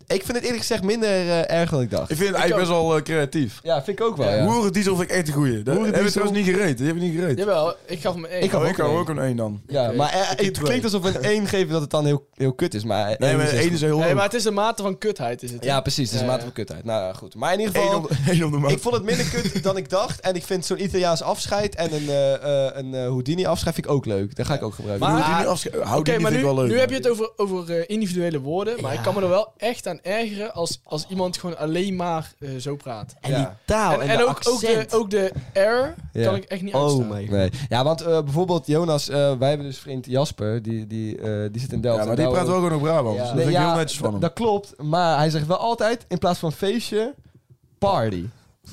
C: Ik vind het eerlijk gezegd minder eh, erg dan ik dacht.
F: Ik vind het eigenlijk best wel eh, creatief.
C: Ja, vind ik ook wel.
F: Ja.
C: ja.
F: diesel vind ik echt een goeie. Dat
C: Hoerendiesel-
F: hebben we trouwens niet gereed. Die hebben we niet gereed.
D: Jawel, ik gaf hem één.
C: Ik gaf
F: Oh,
C: ook
F: ik hou
C: een
F: ook een 1 dan.
C: Ja,
D: Oké.
C: maar eh,
D: Ik heb
C: het
D: twee.
C: klinkt alsof we een 1 geven dat het dan heel, heel kut is. Maar
F: Nee,
C: één
F: maar
C: is echt-
F: 1 is heel
D: Nee, maar
F: hoog.
D: het is de mate van kutheid, is het. hè?
C: Ja, precies. Dus
D: Ja,
C: een maat
D: ja.
C: van kutheid. Nou ja, goed. Maar in ieder
F: 1
C: geval,
F: op, de- één op de maat.
C: ik vond het minder kut dan ik dacht. En ik vind zo'n Italiaans afscheid en een, eh, eh, een eh, Houdini-afscheid vind ik ook leuk. Dat ga ik ook gebruiken.
D: Maar-
F: Houdini afsche- Houdini
D: Oké, maar
F: vind
D: nu,
F: ik wel leuk.
D: nu heb je het over, over eh, individuele woorden, maar ik kan me er wel echt aan ergeren als, als iemand gewoon alleen maar eh, zo praat.
E: En
C: Ja.
E: die taal Nou, en,
D: en en
E: de
D: ook, ook, de,
E: accent.
D: ook de R
C: Ja.
D: kan ik echt niet uitstaan.
E: oh my god.
C: Nee. Ja, want eh, bijvoorbeeld Jonas, eh, wij hebben dus vriend Jasper, die, die, eh, die zit in Delft.
F: Ja, maar
C: En
F: die
C: daar-
F: praat wel gewoon op Brabant.
C: Ja.
F: Dus dat
C: Nee,
F: vind ik
C: ja,
F: heel netjes van hem.
C: Dat klopt, maar hij zegt wel altijd, in plaats van feestje, party.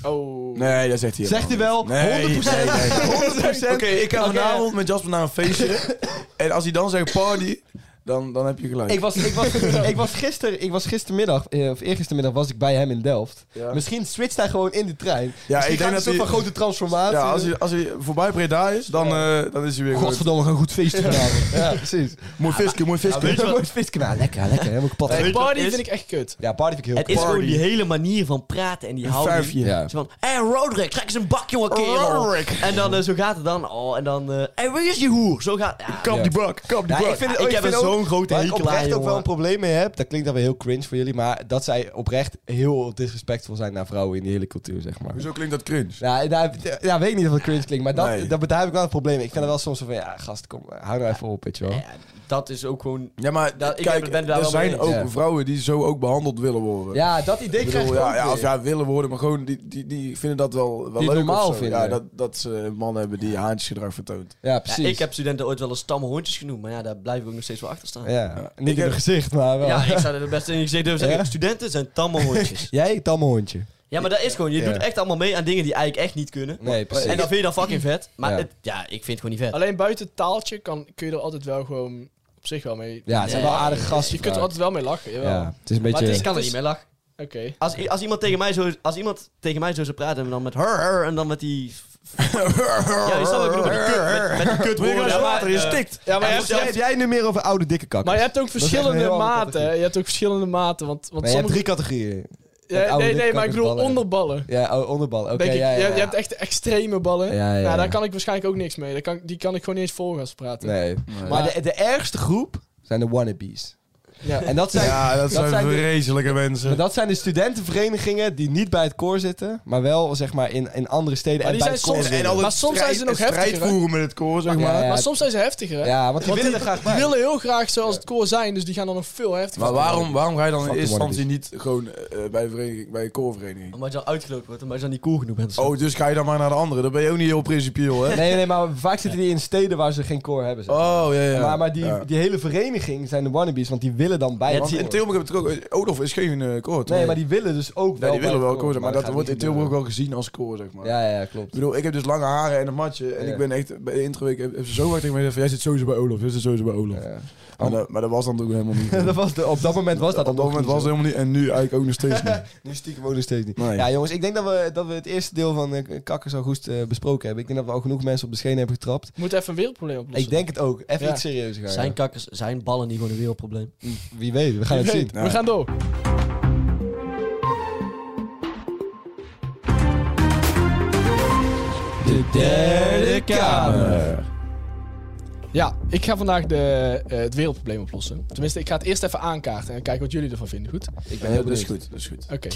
D: Oh.
F: Nee, dat zegt hij
C: Zegt hij wel, 100%. 100%.
F: Oké, ik ga
C: Oké.
F: vanavond met Jasper naar een feestje. en als hij dan zegt party, dan, dan heb je gelijk.
C: Ik was, ik was, ik was, gister, ik was gistermiddag, eh, of eergistermiddag, was ik bij hem in Delft.
F: Ja.
C: Misschien switcht hij gewoon in de trein.
F: Ja,
C: Misschien
F: ik denk
C: gaat
F: dat
C: hij
F: hij-
C: een grote transformatie.
F: ja, als hij, als hij voorbij Breda is, dan, eh, dan is hij weer goed.
C: Godverdomme, we gaan goed feesten vanavond. Ja, precies.
F: Mooi visje, mooi visje.
C: Ja, mooi feesten. Nou, lekker, lekker. Helemaal kapot.
D: Nee,
E: Weet je wat
D: party
E: het is?
D: vind ik echt kut.
C: Ja, party vind ik heel
E: Het is
C: cool.
E: gewoon die hele manier van praten en die
F: Een
E: houding.
F: vijfje.
C: Ja.
E: Zo van, hé hey, Roderick, trek eens een bak, jongen, kerel.
F: Roderick.
E: En dan, eh, zo gaat het dan al. En dan, hé, hey, waar is je hoer? Zo gaat ja, Nou,
F: Kap
C: Ja.
F: die bak, kap die
C: Ja,
F: bak.
C: ik vind het,
E: Ik heb
C: vind
E: er
C: ook-
E: zo'n grote
C: waar
E: hekel
C: ik oprecht
E: aan,
C: ook wel
E: jongen.
C: een probleem mee heb. Dat klinkt dan weer heel cringe voor jullie. Maar dat zij oprecht heel disrespectvol zijn naar vrouwen in die hele cultuur, zeg maar.
F: Hoezo klinkt dat cringe?
C: Ja, nou, ja, weet ik niet of het cringe klinkt. Maar dat,
F: Nee.
C: dat, daar heb ik wel een probleem mee. Ik vind het wel soms zo van, ja, gast, kom, hou nou even op, weet je wel.
E: ja, dat is ook gewoon...
F: Ja, maar
E: Dat- ik heb
F: kijk,
E: het- ben daar
F: er
E: wel mee
F: zijn
E: eens.
F: ook
C: Ja.
F: vrouwen die zo ook behandeld willen worden.
C: Ja, dat idee
F: Ik
C: krijg ik
F: bedoel, ja,
C: ook
F: ja,
C: weer.
F: of ja, willen worden, maar gewoon die, die, die vinden dat wel, wel
C: Die het
F: leuk of
C: normaal
F: zo.
C: vinden.
F: Ja, dat, dat ze een man hebben die haantjesgedrag vertoont.
C: Ja,
E: Ja,
C: precies.
E: ik heb studenten ooit wel eens tamme hondjes genoemd, maar ja, daar blijf ik ook nog steeds wel achter staan. Ja,
C: Ja, niet
F: Ik
C: in
F: heb-
C: het gezicht, maar wel.
E: ik zou er best in gezegd durven zeggen,
C: Ja?
E: studenten zijn tamme hondjes.
C: Jij, tamme hondje.
E: ja, maar dat is gewoon, je
C: Ja.
E: doet echt allemaal mee aan dingen die eigenlijk echt niet kunnen.
C: Nee, precies.
E: En dat vind je dan fucking vet, maar
C: Ja.
E: ja, het, ja ik vind het gewoon niet vet.
D: Alleen buiten taaltje kan, kun je er altijd wel gewoon op zich wel mee...
C: Ja, het zijn wel
E: Nee.
C: aardige gasten.
D: je kunt er altijd wel mee lachen, jawel.
C: Ja, het is een beetje...
D: Maar het
E: Ik kan er niet mee lachen.
D: Oké.
E: Als, i- als, iemand tegen mij zo, als iemand tegen mij zo zou praten en dan met her, her en dan met die... Ja, je snapt wat ik bedoel, met die kut, met, met die kut
F: Moet je
E: Ja,
F: glas water, je
E: eh,
F: stikt.
D: Ja, maar
C: Maar
D: je
C: jij,
D: hebt,
C: hebt jij nu meer over oude dikke kakken?
D: maar je hebt ook
C: echt een
D: verschillende
C: heel andere
D: maten.
C: categorie.
D: hè. Je hebt ook verschillende maten, want, want
C: Nee, je hebt
D: sommige...
C: drie categorieën.
D: Ja,
C: Met oude
D: nee, nee,
C: dikke
D: maar ik
C: kakkers
D: bedoel
C: ballen.
D: onderballen.
C: Ja, oh, onderballen. Oké,
D: Denk ik,
C: ja, ja,
D: je,
C: ja.
D: je hebt echt de extreme ballen.
C: Ja, ja, ja.
D: Nou, daar kan ik waarschijnlijk ook niks mee. Daar kan, die kan ik gewoon niet eens volgen als we praten.
C: Nee. Maar, de, de ergste groep zijn de wannabes.
D: Ja.
C: En dat zijn,
F: Ja, dat, zijn
C: zijn de-
F: vreselijke
C: maar
F: mensen.
C: dat zijn de studentenverenigingen die niet bij het koor zitten, maar wel zeg maar in, in andere steden
D: Maar
C: en
D: die
C: bij
D: zijn
C: het koor
D: soms-
C: zitten.
F: altijd
D: Maar soms zijn ze nog
F: strijd
D: heftiger, hè?
F: voeren met het koor, zeg
C: Ja,
F: maar.
C: ja.
D: Maar soms zijn ze heftiger, hè?
C: eh, Ja, want die
D: Want
C: willen
D: die,
C: er graag
D: die
C: bij.
D: willen heel graag zoals het koor zijn, dus die gaan dan nog veel heftiger.
F: Maar waarom, waarom ga je dan in
C: Fuck
F: eerste
C: the
F: instantie niet gewoon eh, bij, de vereniging, bij de koorvereniging?
E: Omdat je dan uitgelopen wordt, omdat je dan niet cool genoeg bent.
F: Oh, dus ga je dan maar naar de andere. Dan ben je ook niet heel principieel, hè?
C: Nee, nee, maar vaak zitten die in steden waar ze geen koor hebben. zeg.
F: Oh, ja, ja.
C: Maar, maar die,
F: Ja.
C: die hele vereniging zijn de wannabes, want die willen dan bij
E: Ja,
C: het
F: Want in
C: koor.
F: Tilburg heb ik het ook... Odolf is geen eh, koor, toch?
C: Nee, maar die willen dus ook
F: Ja,
C: wel
F: die willen
C: bij
F: wel
C: het
F: koor zijn, maar dat
C: gaat
F: wordt in
C: niet
F: Tilburg
C: gebeuren.
F: wel gezien als koor, zeg maar.
C: Ja, ja, ja, klopt.
F: Ik bedoel, ik heb dus lange haren en een matje. En
C: Ja.
F: ik ben echt bij de introweek heb, heb ze zo hard tegen mij gezegd van... Jij zit sowieso bij Olaf, jij zit sowieso bij Olaf.
C: Ja.
F: Maar, dat, maar dat was dan ook helemaal niet. eh.
C: dat was de, op dat moment was dat
F: op dat
C: nog
F: moment
C: niet
F: was het
C: zo.
F: helemaal niet. En nu eigenlijk ook nog steeds niet.
C: Nu stiekem ook nog steeds niet.
F: Nee.
C: Ja, jongens, ik denk dat we, dat we het eerste deel van eh, Kakkers al goed eh, besproken hebben. Ik denk dat we al genoeg mensen op de schenen hebben getrapt.
D: Moet even een wereldprobleem oplossen.
C: Ik denk het ook. Even
D: Ja.
C: iets serieuzer gaan.
E: Zijn kakkers, zijn ballen niet gewoon een wereldprobleem?
C: ja. Wie weet, we gaan
D: Wie
C: het
D: weet.
C: zien.
D: We gaan door.
C: De derde kamer.
D: Ja, ik ga vandaag de, eh, het wereldprobleem oplossen. Tenminste, ik ga het eerst even aankaarten en kijken wat jullie ervan vinden. Goed?
C: Ik ben
F: Ja,
C: heel
F: dat is
C: benieuwd.
F: goed, dat is goed.
D: Oké.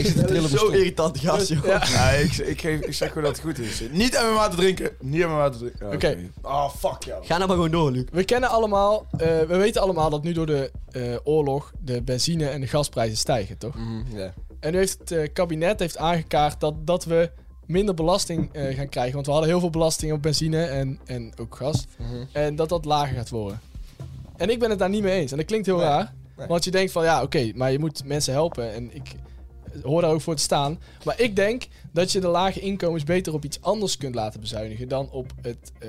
C: Ik zit te trillen op mijn
E: Zo
C: stoel.
E: irritant, gast, joh.
D: Ja.
F: Ja, ik, ik, geef, ik zeg gewoon dat het goed is. Niet aan mijn water drinken. Niet aan mijn water drinken. Ja,
D: Oké.
F: Ah, fuck jou.
E: Ga nou maar gewoon door, Luc.
D: We kennen allemaal, eh, we weten allemaal dat nu door de eh, oorlog de benzine en de gasprijzen stijgen, toch?
C: Mhm, ja.
D: En nu heeft het eh, kabinet heeft aangekaart dat, dat we minder belasting eh, gaan krijgen. Want we hadden heel veel belasting op benzine en, en ook gas.
C: Mhm.
D: En dat dat lager gaat worden. En ik ben het daar niet mee eens. En dat klinkt heel
C: Nee,
D: raar.
C: nee.
D: Want je denkt van ja, oké, maar je moet mensen helpen. En ik eh, hoor daar ook voor te staan. Maar ik denk dat je de lage inkomens beter op iets anders kunt laten bezuinigen dan op, het, eh,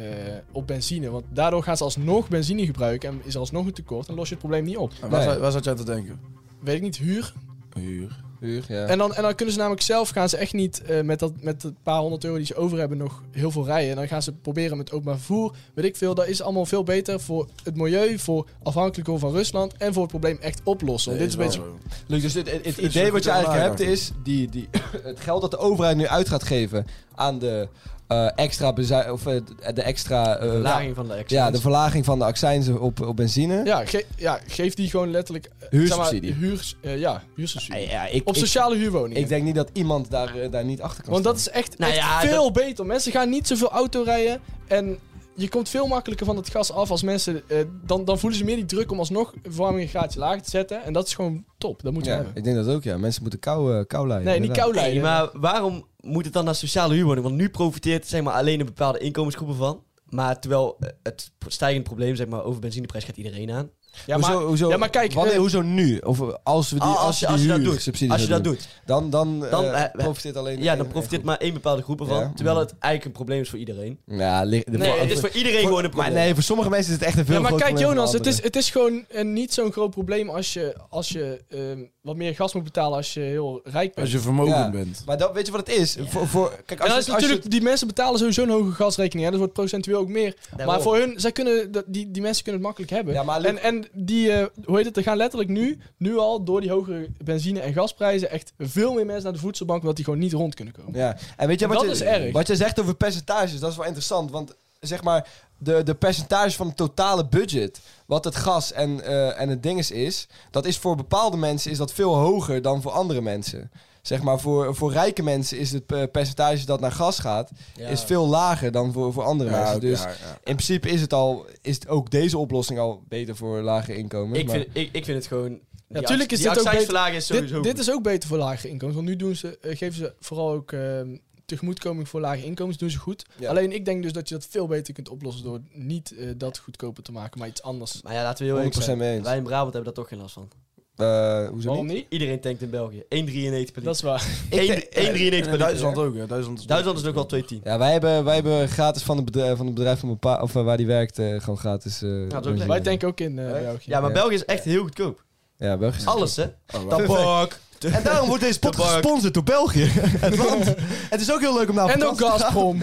D: op benzine. Want daardoor gaan ze alsnog benzine gebruiken en is er alsnog een tekort. En los je het probleem niet op.
F: En Waar,
C: Nee.
F: zat- waar zat jij aan te denken?
D: Weet ik niet, huur.
F: Huur.
C: Huur, ja.
D: En dan, en dan kunnen ze namelijk zelf gaan ze echt niet eh, met, dat, met de paar honderd euro die ze over hebben nog heel veel rijden. En dan gaan ze proberen met openbaar vervoer. Weet ik veel. Dat is allemaal veel beter voor het milieu, voor afhankelijk worden van Rusland en voor het probleem echt oplossen. Want dit is een beetje.
C: Luc, dus het, het- het
F: is
C: idee
F: een
C: wat je
F: goed
C: eigenlijk hebt
F: aanrader.
C: is die, die, het geld dat de overheid nu uit gaat geven aan de eh, extra bezui- of eh, de extra eh,
E: Laging van de ex.
C: ja, de verlaging van de accijnzen op, op benzine.
D: Ja, ge- ja, geef die gewoon letterlijk. eh,
C: Huursubsidie.
D: Zeg maar, huurs, eh, ja, huursubsidie.
C: Ja, ja, ik,
D: Op
C: ik,
D: sociale huurwoningen.
C: ik denk niet dat iemand daar, eh, daar niet achter kan
D: Want dat
C: staan.
D: is echt,
E: Nou
D: echt
E: ja,
D: veel beter. Mensen gaan niet zoveel auto rijden. En je komt veel makkelijker van het gas af als mensen. eh, dan, dan voelen ze meer die druk om alsnog verwarming een graadje lager te zetten. En dat is gewoon top. Dat moeten we
C: Ja, ik
D: hebben.
C: denk dat ook, ja. Mensen moeten kou, eh, kou lijden.
D: Nee, niet
C: inderdaad.
D: kou leiden.
E: maar waarom moet het dan naar sociale huurwoning? Want nu profiteert zeg maar, alleen een bepaalde inkomensgroepen van. Maar terwijl eh, het stijgende probleem zeg maar, over benzineprijs gaat iedereen aan.
D: ja, maar,
C: Hoezo, hoezo,
D: ja, maar kijk.
C: wanneer-
D: eh,
C: hoezo nu? Of eh, als we die,
E: Ah,
C: als, je, die
E: dat doet,
C: huursubsidie
E: als je
C: zou
E: dat
C: doen,
E: doet,
C: dan, dan, eh,
E: Dan, eh,
C: profiteert alleen...
E: ja, dan profiteert maar één bepaalde groep ervan.
C: Ja.
E: Terwijl het eigenlijk een probleem is voor iedereen.
C: Ja, li- de-
E: Nee,
C: voor-
E: het is voor iedereen gewoon een
C: Maar
E: probleem.
C: nee, voor sommige mensen is het echt een veel
D: ja, maar
C: groter
D: kijk,
C: probleem dan
D: Jonas, het
C: anderen.
D: is, het is gewoon eh, niet zo'n groot probleem als je, als je ehm, wat meer gas moet betalen als je heel rijk bent.
F: Als je vermogend
C: Ja.
F: bent.
C: Maar dat, weet je wat het is? Voor, voor, kijk,
D: En
C: als, je-
D: dat is
C: als je-
D: natuurlijk, die mensen betalen sowieso een hoge gasrekening. Hè? Dat wordt procentueel ook meer. Maar voor hun, zij kunnen, dat- die, die mensen kunnen het makkelijk hebben.
C: Ja, maar Luc-
D: en, en die, eh, hoe heet het, er gaan letterlijk nu, nu al door die hogere benzine- en gasprijzen echt veel meer mensen naar de voedselbank, omdat die gewoon niet rond kunnen komen.
C: Ja, en weet je wat
D: Dat
C: je,
D: is erg.
C: Wat je zegt over percentages, dat is wel interessant. Want zeg maar, de, de percentage van het totale budget, wat het gas en, eh, en het dinges is, dat is voor bepaalde mensen is dat veel hoger dan voor andere mensen. Zeg maar, voor, voor rijke mensen is het eh, percentage dat naar gas gaat, is veel lager dan voor, voor andere mensen. Dus
F: ja,
C: in principe is het al, is het ook deze oplossing al beter voor lage inkomens.
E: Ik
C: maar-
E: vind, ik, ik vind het gewoon... die
D: tuurlijk
E: acc-
D: is
E: die
D: dit ook
E: accijnsverlaging is sowieso
D: Dit, dit
E: goed.
D: is ook beter voor lage inkomens. Want nu doen ze, eh, geven ze vooral ook ehm, tegemoetkoming voor lage inkomens. Doen ze goed.
C: Ja.
D: Alleen ik denk dus dat je dat veel beter kunt oplossen door niet eh, dat goedkoper te maken, maar iets anders.
E: Maar ja, laten we heel eerlijk
C: 100%
E: zijn.
C: mee eens.
E: Wij in Brabant hebben daar toch geen last van.
C: Eh, hoezo
D: Waarom
C: niet?
D: niet?
E: Iedereen tankt in België. 1,93 per liter.
D: Dat is waar.
E: Eén- 1,93 per
F: En in
E: liter.
F: Duitsland ook, hè. Duitsland is,
E: Duitsland is ook wel 2,10.
C: Ja, wij hebben, wij hebben gratis van het bedrijf van, het bedrijf van mijn pa, of eh, waar die werkt, eh, gewoon gratis. eh,
E: dat is ook
C: benzine.
E: lekker.
D: Wij denken ook in eh, België.
E: Ja, maar
C: Ja.
E: België is echt heel goedkoop.
C: Ja, Belgisch.
E: Alles, hè?
F: Oh, wauw.
E: Tabak.
C: Ah, En daarom wordt deze podcast
E: Tabak.
C: gesponsord door België. Het land. Het is ook heel leuk om naar
D: en ook Gazprom.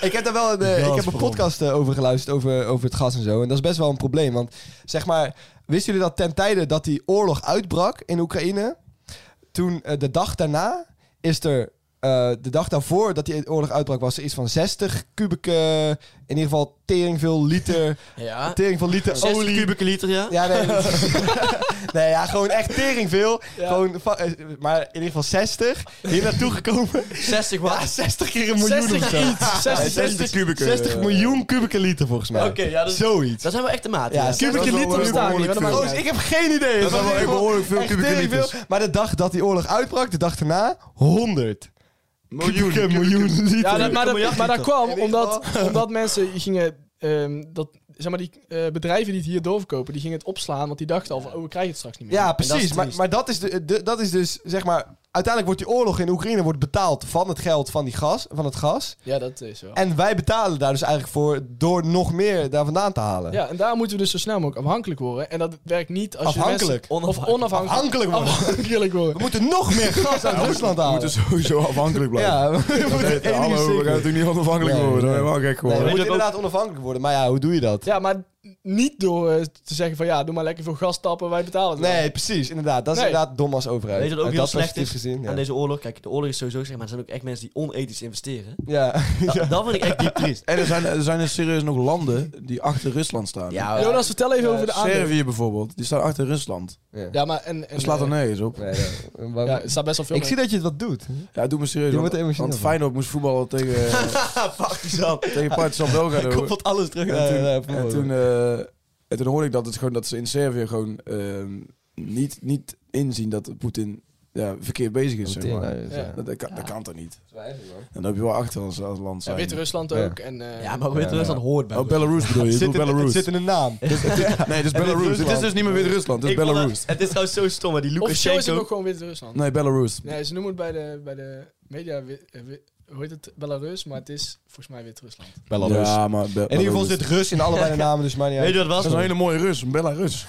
C: Ik heb daar wel een, eh, ik heb een podcast eh, over geluisterd over, over het gas en zo. En dat is best wel een probleem. Want zeg maar, wisten jullie dat ten tijde dat die oorlog uitbrak in Oekraïne, toen eh, de dag daarna is er. eh, de dag daarvoor dat die oorlog uitbrak, was er iets van 60 kubieke. In ieder geval tering veel liter.
E: Ja.
C: Tering veel liter
E: 60
C: olie.
E: kubieke liter, ja.
C: Ja, nee. nee, ja, gewoon echt tering veel.
D: Ja.
C: Gewoon, va- eh, maar in ieder geval 60. Hier naartoe gekomen.
E: 60
C: Ja,
E: watt.
C: 60 keer een miljoen of
D: 60
C: zo.
D: iets.
C: Ja,
D: 60
C: 60
F: kubieke,
C: 60
F: eh,
C: miljoen kubieke liter volgens mij.
E: Oké, ja, dat is-
C: Zoiets.
E: Dat zijn wel echte maten.
C: Ja,
E: Ja,
C: kubieke
F: Dat is wel,
C: liter
F: eh,
C: bestaan
D: niet,
F: behoorlijk
D: maar dat
F: veel.
C: Trouwens, ik heb geen idee.
F: Dat
C: Het was
F: zijn wel
C: in
F: echt
C: ieder geval
F: behoorlijk veel
C: echt
F: kubieke
C: tering
F: liters.
C: veel. Maar de dag dat die oorlog uitbrak, de dag daarna, 100.
F: Miljoen.
C: Kubieke miljoen liter.
D: Ja, dat, maar, dat,
E: miljard
D: maar dat
E: liter.
D: kwam omdat, omdat mensen gingen. ehm, dat, zeg maar, die eh, bedrijven die het hier doorverkopen, die gingen het opslaan. Want die dachten al van, oh, we krijgen het straks niet meer.
C: Ja,
E: is
C: precies. maar,
E: triest.
C: maar dat is, de, de- dat is dus, zeg maar... Uiteindelijk wordt die oorlog in Oekraïne wordt betaald van het geld van, die gas, van het gas.
D: ja dat is wel.
C: En wij betalen daar dus eigenlijk voor door nog meer daar vandaan te halen.
D: Ja, en daar moeten we dus zo snel mogelijk afhankelijk worden. En dat werkt niet als
C: Afhankelijk.
D: je mensen... Of onafhankelijk.
C: Afhankelijk worden.
D: Afhankelijk
C: We
D: worden.
C: moeten nog meer gas uit Rusland
F: We
C: halen.
F: moeten sowieso afhankelijk blijven.
C: ja, we moeten
F: Hey,
C: één ding
F: hallo,
C: is
F: we gaan
C: zeker.
F: natuurlijk niet onafhankelijk
C: Nee,
F: worden.
C: nee.
F: Dat is wel gek
C: Nee,
F: geworden.
C: we
E: We
C: moeten
E: moeten
C: inderdaad onafhankelijk worden, maar ja, hoe doe je dat?
D: Ja, maar niet door eh, te zeggen van ja, doe maar lekker veel gas tappen, wij betalen het wel.
C: Nee, precies. Inderdaad. Dat is
D: Nee.
C: inderdaad dom als overheid.
E: Weet je wat ook
C: Uit
E: heel
C: dat
E: slecht is
C: perspectief gezien. Ja.
E: aan deze oorlog? Kijk, de oorlog is sowieso zeg maar, er zijn ook echt mensen die onethisch investeren.
C: ja.
E: Da- Dat vind ik echt diep triest.
F: En er zijn, er zijn er serieus nog landen die achter Rusland staan.
E: Ja,
D: Jonas, vertel even over de aandelen.
F: Servië bijvoorbeeld, die staan achter Rusland.
C: Ja.
D: Ja, maar en... en
F: Dat slaat er
D: eh,
F: nergens op.
C: Nee, ja. Maar-
D: Ja, er staat best wel veel
C: ik zie dat je het wat doet.
F: Ja, doe me serieus.
C: Je
F: want-
C: wordt emotioneel
F: Want
C: van.
F: Feyenoord moest voetballen tegen,
E: Partizan.
F: tegen Partizan Belgrado.
E: Koppelt alles terug.
C: Ja,
E: naar
C: ja, Oh, ja,
F: En toen, eh, en toen hoorde ik dat, het gewoon, dat ze in Servië gewoon ehm, niet, niet inzien dat Poetin ja, verkeerd bezig is. Zeg
C: Meteen,
F: maar.
C: nou,
D: Ja.
C: ja.
F: dat, dat kan, dat kan toch niet?
C: Twijfel, man.
F: En dan heb je wel achter als, als land
D: Ja,
F: zijn.
D: Wit-Rusland
C: Ja.
D: ook. En, eh,
E: Ja, maar Wit-Rusland hoort bij
F: Oh, Belarus bedoel je?
C: Het
F: Je
C: zit,
F: bedoelt
C: in, het
F: Belarus.
C: zit in de naam.
F: Nee, dit is Belarus. Dit is dus niet meer Wit-Rusland, dit is
E: Ik vond dat-
F: Belarus.
E: Het is trouwens zo stom, maar die
D: Officieel is het
E: Lukashenko...
D: ook gewoon Wit-Rusland.
F: Nee, Belarus.
D: Nee, ze noemen het bij de, bij de media, wi- eh, wi- hoe heet het, Belarus, maar het is volgens mij Wit-Rusland.
F: Ja, maar Be-
C: In ieder geval
F: Belarus.
C: zit Rus in allebei de namen, dus maar niet
E: Weet
C: uit.
E: je wat
F: Dat
E: het
F: is een
E: was?
F: hele mooie Rus, een Belarus.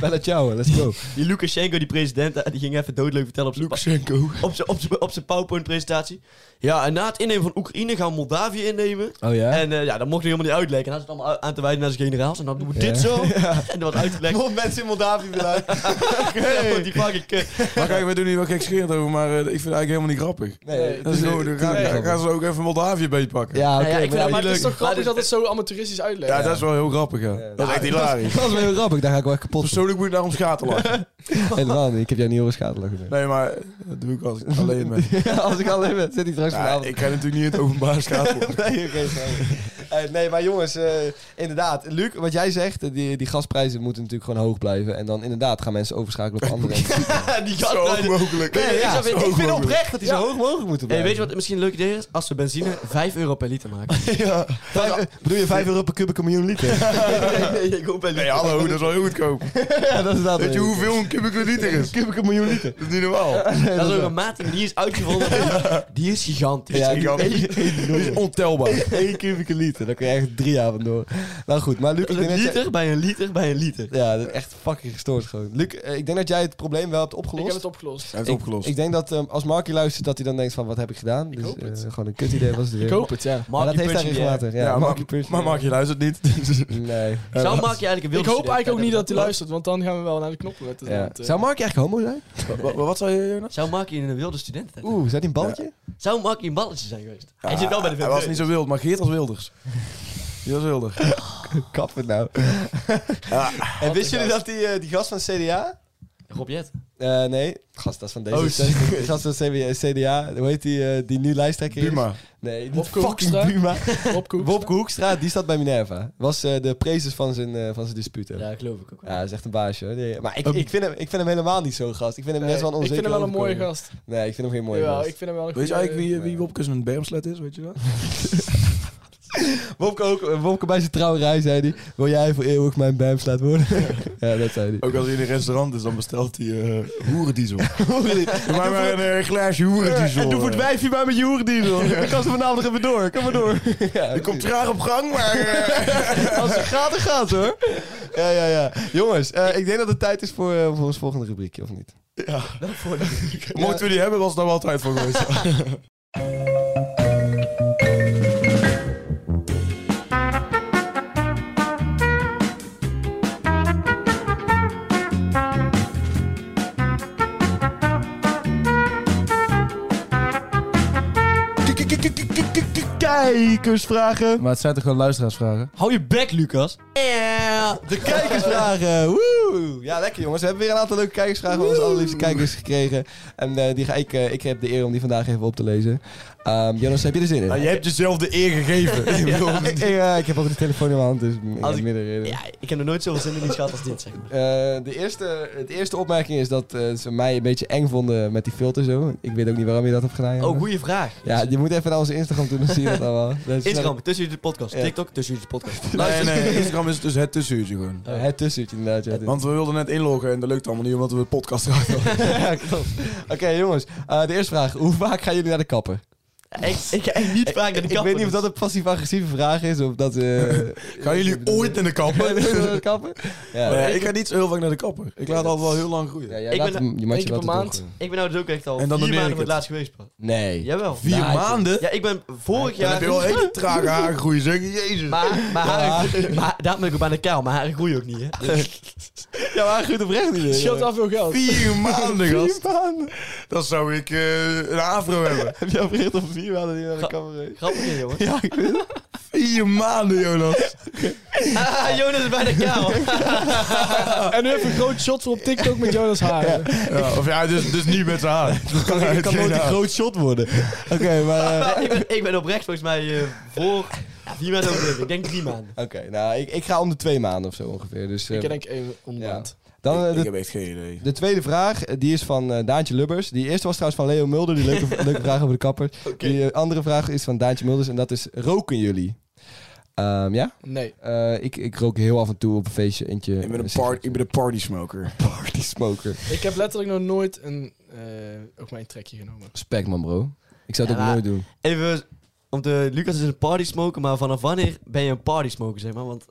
C: Bella ciao, let's go.
E: Die Lukashenko, die president, eh, die ging even doodleuk vertellen op zijn pa-
F: Lukashenko.
E: op zijn- op zijn- op zijn PowerPoint-presentatie. Ja, en na het innemen van Oekraïne gaan we Moldavië innemen.
C: Oh ja?
E: En eh, ja, dat mocht hij helemaal niet uitleggen. En hij zat allemaal aan te wijden naar zijn generaals. En dan doen we dit
C: Ja.
E: zo. En dat was uitgelegd.
C: Nog mensen in Moldavië willen
E: Ja, want die fucking kut.
F: Maar kijk, we doen hier wel gekscherend over, maar eh, ik vind het eigenlijk helemaal niet grappig.
C: Nee,
F: Dat is gewoon, dan gaan,
C: Nee.
F: dan gaan ze ook even Moldavië beetpakken. Ja,
C: Ja,
E: ja,
C: oké.
E: ik
C: maar
E: vind
C: ja,
E: dat
D: maar
E: niet
D: het is
E: leuk.
D: toch
E: Maar
D: grappig
E: dit-
D: dat het zo amateuristisch uitlegt.
F: dat is wel heel grappig, ja.
C: Ja.
F: Dat is echt hilarisch.
C: Dat is wel heel grappig, daar ga ik wel echt kapot van.
F: Persoonlijk moet ik daarom schaten lachen.
C: Helemaal niet, ik heb jou niet horen schadelijk.
F: Nee, maar dat doe ik als ik alleen ben.
C: Ja, als ik alleen ben, zit ik straks
F: Ja,
C: vanavond.
F: ik ga natuurlijk niet in het openbaar schaten.
C: Nee, oké, sorry. Eh, nee, maar jongens, eh, inderdaad. Luc, wat jij zegt, eh, die, die gasprijzen moeten natuurlijk gewoon hoog blijven. En dan inderdaad gaan mensen overschakelen op andere.
E: die
F: Zo
E: gastrijden.
F: mogelijk.
E: Nee, ja,
C: zo
E: ik vind het
F: mogelijk.
E: oprecht dat hij
C: Ja.
E: zo hoog...
C: mogelijk moeten
E: Hey, weet je wat misschien een leuk idee is? Als we benzine 5 euro per liter maken.
C: ja. Vijf- eh, bedoel je 5 euro per kubieke miljoen liter?
E: nee, ik hoop wel
F: Nee, hallo, dat is wel heel goedkoop.
C: ja, dat is dat.
F: Weet je hoeveel een kubieke liter is?
C: Kubieke miljoen liter.
F: Dat is niet normaal.
E: Dat is ook een maat die is uitgevonden. die is gigantisch.
C: Ja,
F: die- Dat is ontelbaar.
C: 1 kubieke liter, daar kun je echt drie avonden door. Nou goed, maar Luc, ik
E: Dat
C: denk
E: is een
C: dat jij-
E: liter bij een liter bij een liter.
C: Ja, dat is echt fucking gestoord gewoon. Luc, eh, ik denk dat jij het probleem wel hebt opgelost.
D: Ik heb het opgelost.
F: Hij heeft
C: Ik-
F: opgelost.
C: Ik, denk dat ehm, als Markie luistert, dat hij dan denkt van wat heb ik gedaan. dus
D: hoop het.
C: eh, gewoon een kut idee was het weer.
D: Ik hoop het, ja.
C: Maar
E: Mark,
C: dat
E: die
C: heeft hij
E: punch in the air.
C: regelmatig. Ja,
F: Ja,
C: Markie
F: maar-
C: Punch.
F: Maar Mark, je luistert niet. Dus-
C: Nee.
E: Zou Mark je eigenlijk een
D: Ik
E: wilde
D: hoop eigenlijk ook niet dat hij
E: hij
D: luistert, want dan gaan we wel naar de knoppen letten.
C: Ja.
D: want, eh,
C: Zou Markie eigenlijk homo zijn?
F: Wa- wa- Wat zei je, Jonas?
E: Zou Mark je een wilde student hebben?
C: Oeh, zou die een balletje?
E: Zou Mark je een balletje zijn geweest? Hij zit wel bij de
F: Hij was niet zo wild, maar Geert was wilders. Die was wilder.
C: Kap het nou. en wisten jullie dat die, eh, die gast van CDA?
E: Rob Jet.
C: Eh, nee, gast, dat is van deze.
E: Oh,
C: Die gast van CBA CDA, hoe heet die, eh, die nu lijsttrekker is?
F: Buma.
C: Nee, die
D: Wopke
C: fucking
D: Hoekstra.
C: Buma.
D: Rob Koek.
C: Wopke Hoekstra, die staat bij Minerva. Was eh, de prezes van zijn, eh, van zijn disputen.
E: Ja, geloof ik ook wel.
C: Ja, dat is echt een baasje. hoor. Die- Maar ik, ik, vind hem, ik vind hem helemaal niet zo'n gast. Ik vind hem net wel een
D: ik
C: onzeker
D: vind hem wel een mooie
C: overkomen.
D: gast.
C: Nee, ik vind hem geen mooie
D: Jawel,
C: gast.
D: ik vind hem wel een
F: Weet je
D: goeie-
F: eigenlijk wie, wie Wopkes een bermslet is, weet je dat?
C: Wopke, ook, Wopke bij zijn trouwerij zei hij... Wil jij voor eeuwig mijn BAMS laten worden? ja, dat zei hij.
F: Ook als hij in een restaurant is, dan bestelt hij eh hoerendiesel. Doe mij maar een eh, glaasje
C: En
F: hoerendiesel.
C: doe voor het
F: eh.
C: wijfje bij mijn joerdiesel. Ik kan ze vanavond even door. Kom maar door. ja,
F: Ik kom traag op gang, maar... eh,
C: Als het gaat, dan gaat hoor. Ja, ja, ja. Jongens, eh, ik denk dat het tijd is voor, eh, voor ons volgende rubriekje, of niet?
F: Mochten we die hebben, was daar wel tijd voor geweest.
C: Kijkersvragen.
F: Maar het zijn toch gewoon luisteraarsvragen?
E: Hou je bek, Lucas.
C: De kijkersvragen. Woe! Eh, Ja, lekker jongens. We hebben weer een aantal leuke kijkersvragen van onze allerliefste kijkers gekregen. En eh, die ga ik, eh, ik heb de eer om die vandaag even op te lezen. Ehm, Jonas, heb je er zin in?
F: Nou, je hebt jezelf de eer gegeven. Ik bedoel,
C: ik, ik, eh, ik heb ook de telefoon in mijn hand, dus
F: mm,
C: m-
E: Als ik-
C: midden reden.
E: Ja, ik heb nog nooit zoveel zin in iets gehad als dit, zeg maar.
C: Eh, de, eerste, het eerste opmerking is dat eh, ze mij een beetje eng vonden met die filter zo. Ik weet ook niet waarom je dat hebt gedaan. Jonas.
E: Oh, goede vraag.
C: Ja, je moet even naar onze Instagram toe, dan zie je dat allemaal. Dat is
E: Instagram, tussen jullie de podcast.
C: Ja.
E: TikTok, tussen jullie de podcast.
F: Nee,
E: Luister.
F: nee, Instagram is dus het tussenuurtje gewoon.
C: snel- eh, het tussentje inderdaad. Ja, dit-
F: Want we wilden net inloggen en dat lukt allemaal niet, omdat we de podcast hadden.
C: Ja, klopt. Oké jongens, Eh, de eerste vraag. Hoe vaak gaan jullie naar de kapper?
E: Ik, ik ga echt niet vaak naar de kapper.
C: Ik weet niet of
E: dus-
C: dat een passief-agressieve vraag is. Of dat, eh,
F: Gaan jullie ooit in de kapper?
C: kappen? Ja.
F: Nee, ik ga niet zo heel vaak naar de kapper. Ik laat altijd wel heel lang groeien.
C: Ja, jij
E: Ik
C: laat
E: ben-
C: hem- je
D: één
C: matje
D: keer per
C: laat het
D: maand.
C: doorgroeien.
E: Ik ben nou dus ook echt al
F: En dan
E: vier
F: doneer
E: maanden
F: ik
E: voor het
F: het.
E: laatst geweest. man.
C: Nee.
E: Jawel.
F: Vier
C: Ja, ik-
F: maanden?
E: Ja, ik ben
F: Dan
E: vorig jaar...
F: heb je wel hele trage haargroei, zeg. Jezus.
E: Maar, maar, haar, maar daarom ben ik ook bijna kaal. Maar haar groeien ook niet, hè.
C: Ja, maar goed oprecht niet.
D: Het scheelt wel veel geld.
F: Vier maanden, gast.
C: maanden.
F: Dan zou ik eh, een afro hebben.
C: Heb je oprecht op vier maanden niet naar de kamer?
E: Grappig, hè, jongen.
C: Ja, ik weet het.
F: Vier maanden, Jonas.
E: Ah, Jonas is bijna kaal.
D: En nu even een groot shot voor op TikTok met Jonas Haren.
F: Ja, of ja, dus, dus niet met zijn haar. Dat kan,
C: Het kan nooit een groot shot worden. Oké, maar... eh,
E: ik, ben, ik ben oprecht volgens mij eh, voor... Ja, vier maanden overdreven. Ik denk drie maanden.
C: Oké, nou, ik, ik ga om de twee maanden of zo ongeveer. Dus, eh,
D: Ik denk één om de
C: Ja.
D: maand.
C: dan eh,
F: Ik
C: de,
F: heb echt geen idee.
C: de tweede vraag, eh, die is van eh, Daantje Lubbers. Die eerste was trouwens van Leo Mulder, die leuke, leuke vraag over de kapper. Die eh, andere vraag is van Daantje Mulders en dat is, roken jullie? Ehm, ja,
D: Nee.
C: Eh, ik, ik rook heel af en toe op een feestje eentje.
F: Ik ben een, part,
C: sigaretje.
F: ik ben een party smoker.
C: party smoker.
D: Ik heb letterlijk nog nooit een, eh, ook mijn trekje genomen.
C: Spek man bro. Ik zou het
E: Ja,
C: ook
E: maar-
C: nooit doen.
E: Even... Om te, Lucas is een party smoker, maar vanaf wanneer ben je een party smoker, zeg maar? Want,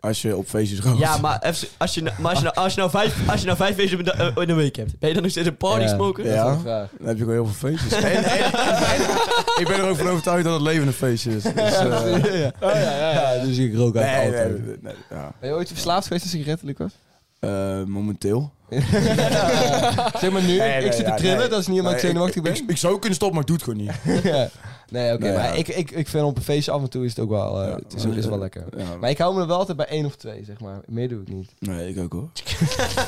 F: Als je op feestjes rookt.
E: ja, maar, even- als je, maar als, je nou, als, je nou vijf, als je nou vijf feesten in de- eh, in een week hebt, ben je dan nog steeds een party
C: Ja.
E: smoker?
F: Ja.
C: Dat is een vraag.
F: Dan heb je gewoon heel veel feestjes. En- en- en- ik ben er ook van overtuigd dat het leven een feestje is. Dus, eh, nee,
C: ja, ja. Ja, dus ik rook
F: nee,
C: eigenlijk altijd.
F: nee, nee, ja.
C: Ben je ooit verslaafd geweest aan sigaretten, Lucas?
F: Eh, momenteel.
C: zeg maar nu,
F: Nee, nee,
C: ik zit te
F: ja,
C: trillen,
F: nee.
C: dat is niet omdat
F: Nee,
C: ik zenuwachtig ben.
F: Ik, ik zou kunnen stoppen, maar ik doe het gewoon niet.
C: Ja. Nee, oké,
F: Nee,
C: maar
F: ja.
C: ik, ik, ik vind op een feestje af en toe is het ook wel, eh,
F: Ja,
C: het is,
F: maar-
C: is wel lekker.
F: Ja,
C: Maar ik hou me er wel altijd bij één of twee, zeg maar. Meer doe ik niet.
F: nee, ik ook hoor.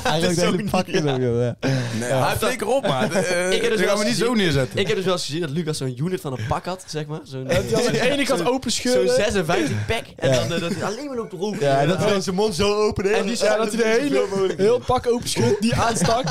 C: Eigenlijk
E: is
C: de
E: ook
C: hele pak
E: niet,
C: is ook wel, ja.
F: Nee, ja, flikker op, man. Eh,
E: Ik heb dus
F: Ze
E: wel
F: gaan me niet
E: gezien-
F: zo neerzetten.
E: Ik heb dus wel eens gezien dat Lucas zo'n unit van een pak had, zeg maar. Zo'n
D: Dat hij aan de ene kant open
E: zo'n
D: scheuren.
E: 56 pack. En dan eh, dat hij alleen maar loopt te roken.
C: Ja, en dat hij dan
E: zijn mond zo open En die
D: Ja, dat hij de hele heel pak open schudt, die aanstak.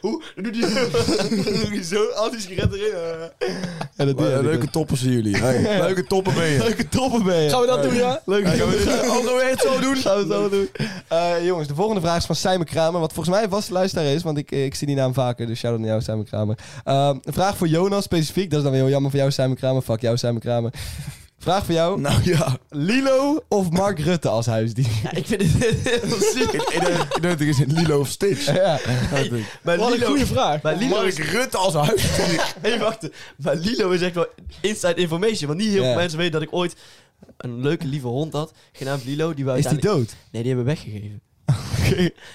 E: Hoe? Dan doet hij- doet hij zo al die sigaretten erin. eh.
C: En dat doe
F: Maar,
C: je
F: eh, leuke toppen zijn jullie. Hey, leuke toppen ben je.
C: leuke toppen ben je.
D: Gaan we dat doen, ja?
C: Leuke
F: Hey, gaan we
C: toppen.
F: dit allemaal weer zo doen?
C: Gaan we het zo doen. Eh, jongens, de volgende vraag is van Simon Kramer. Wat volgens mij een vaste luisteraar is, want ik, eh, ik zie die naam vaker. Dus shout-out naar jou, Simon Kramer. Ehm, een vraag voor Jonas specifiek. Dat is dan weer heel jammer voor jou, Simon Kramer. Fuck jou, Simon Kramer. Vraag voor jou.
F: Nou ja.
C: Lilo of Mark Rutte als huisdier?
E: Ja, ik vind het heel ziek.
F: Ik denk dat is in Lilo of Stitch.
C: ja.
E: Maar
D: Wat een
E: Lilo,
D: goede vraag.
E: maar Lilo,
F: Mark
E: is,
F: Rutte als huisdier.
E: hey, wacht, maar Lilo is echt wel inside information. Want niet heel
C: Ja.
E: veel mensen weten dat ik ooit een leuke, lieve hond had. Genaamd Lilo. Die we
C: Is die
E: uiteindelijk-
C: dood?
E: Nee, die hebben we weggegeven.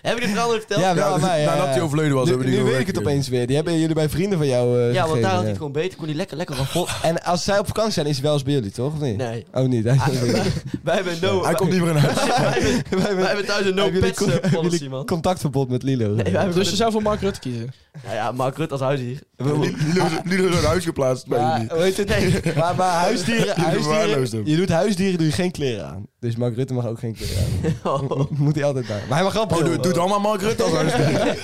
E: Heb ik dit verhaal ooit verteld?
C: Ja, wel
F: Ja, nou,
C: aan mij. ja,
F: nadat
C: ja.
F: hij overleden was,
C: Nu,
F: hebben we die
C: nu weet
F: gewoon
C: ik het
F: weggegeven.
C: opeens weer. Die hebben jullie bij vrienden van jou eh,
E: Ja, want
C: gegeven,
E: daar had hij
C: ja.
E: het gewoon beter. Kon hij lekker, lekker van vol.
C: En als zij op vakantie zijn, is hij wel eens bij jullie, toch? Of niet?
E: Nee. Ah,
C: Oh, niet. Wij hebben,
E: Wij hebben no...
F: Hij komt niet meer in huis.
E: Wij hebben thuis een
C: hebben jullie
E: no-pets
C: con-
E: eh,
C: hebben
E: policy,
C: jullie
E: man.
C: contactverbod met Lilo.
E: Nee, wij hebben
D: Dus je
E: gewoon
D: zou voor Mark Rutte kiezen.
E: een- Nou ja, Mark Rutte als huisdier.
F: Lilo is- Lilo is uit huis geplaatst bij
C: maar,
E: Ah,
F: jullie.
C: hoe heet het? maar, maar huisdieren,
F: Jullie verwaarloosd
C: huisdieren
F: hem.
C: je doet huisdieren doe je geen kleren aan. Dus Mark Rutte mag ook geen kleren aan. Moet hij altijd bij. Maar hij mag wel
F: Oh,
C: bril.
F: doe, doe het allemaal Mark Rutte als huisdier.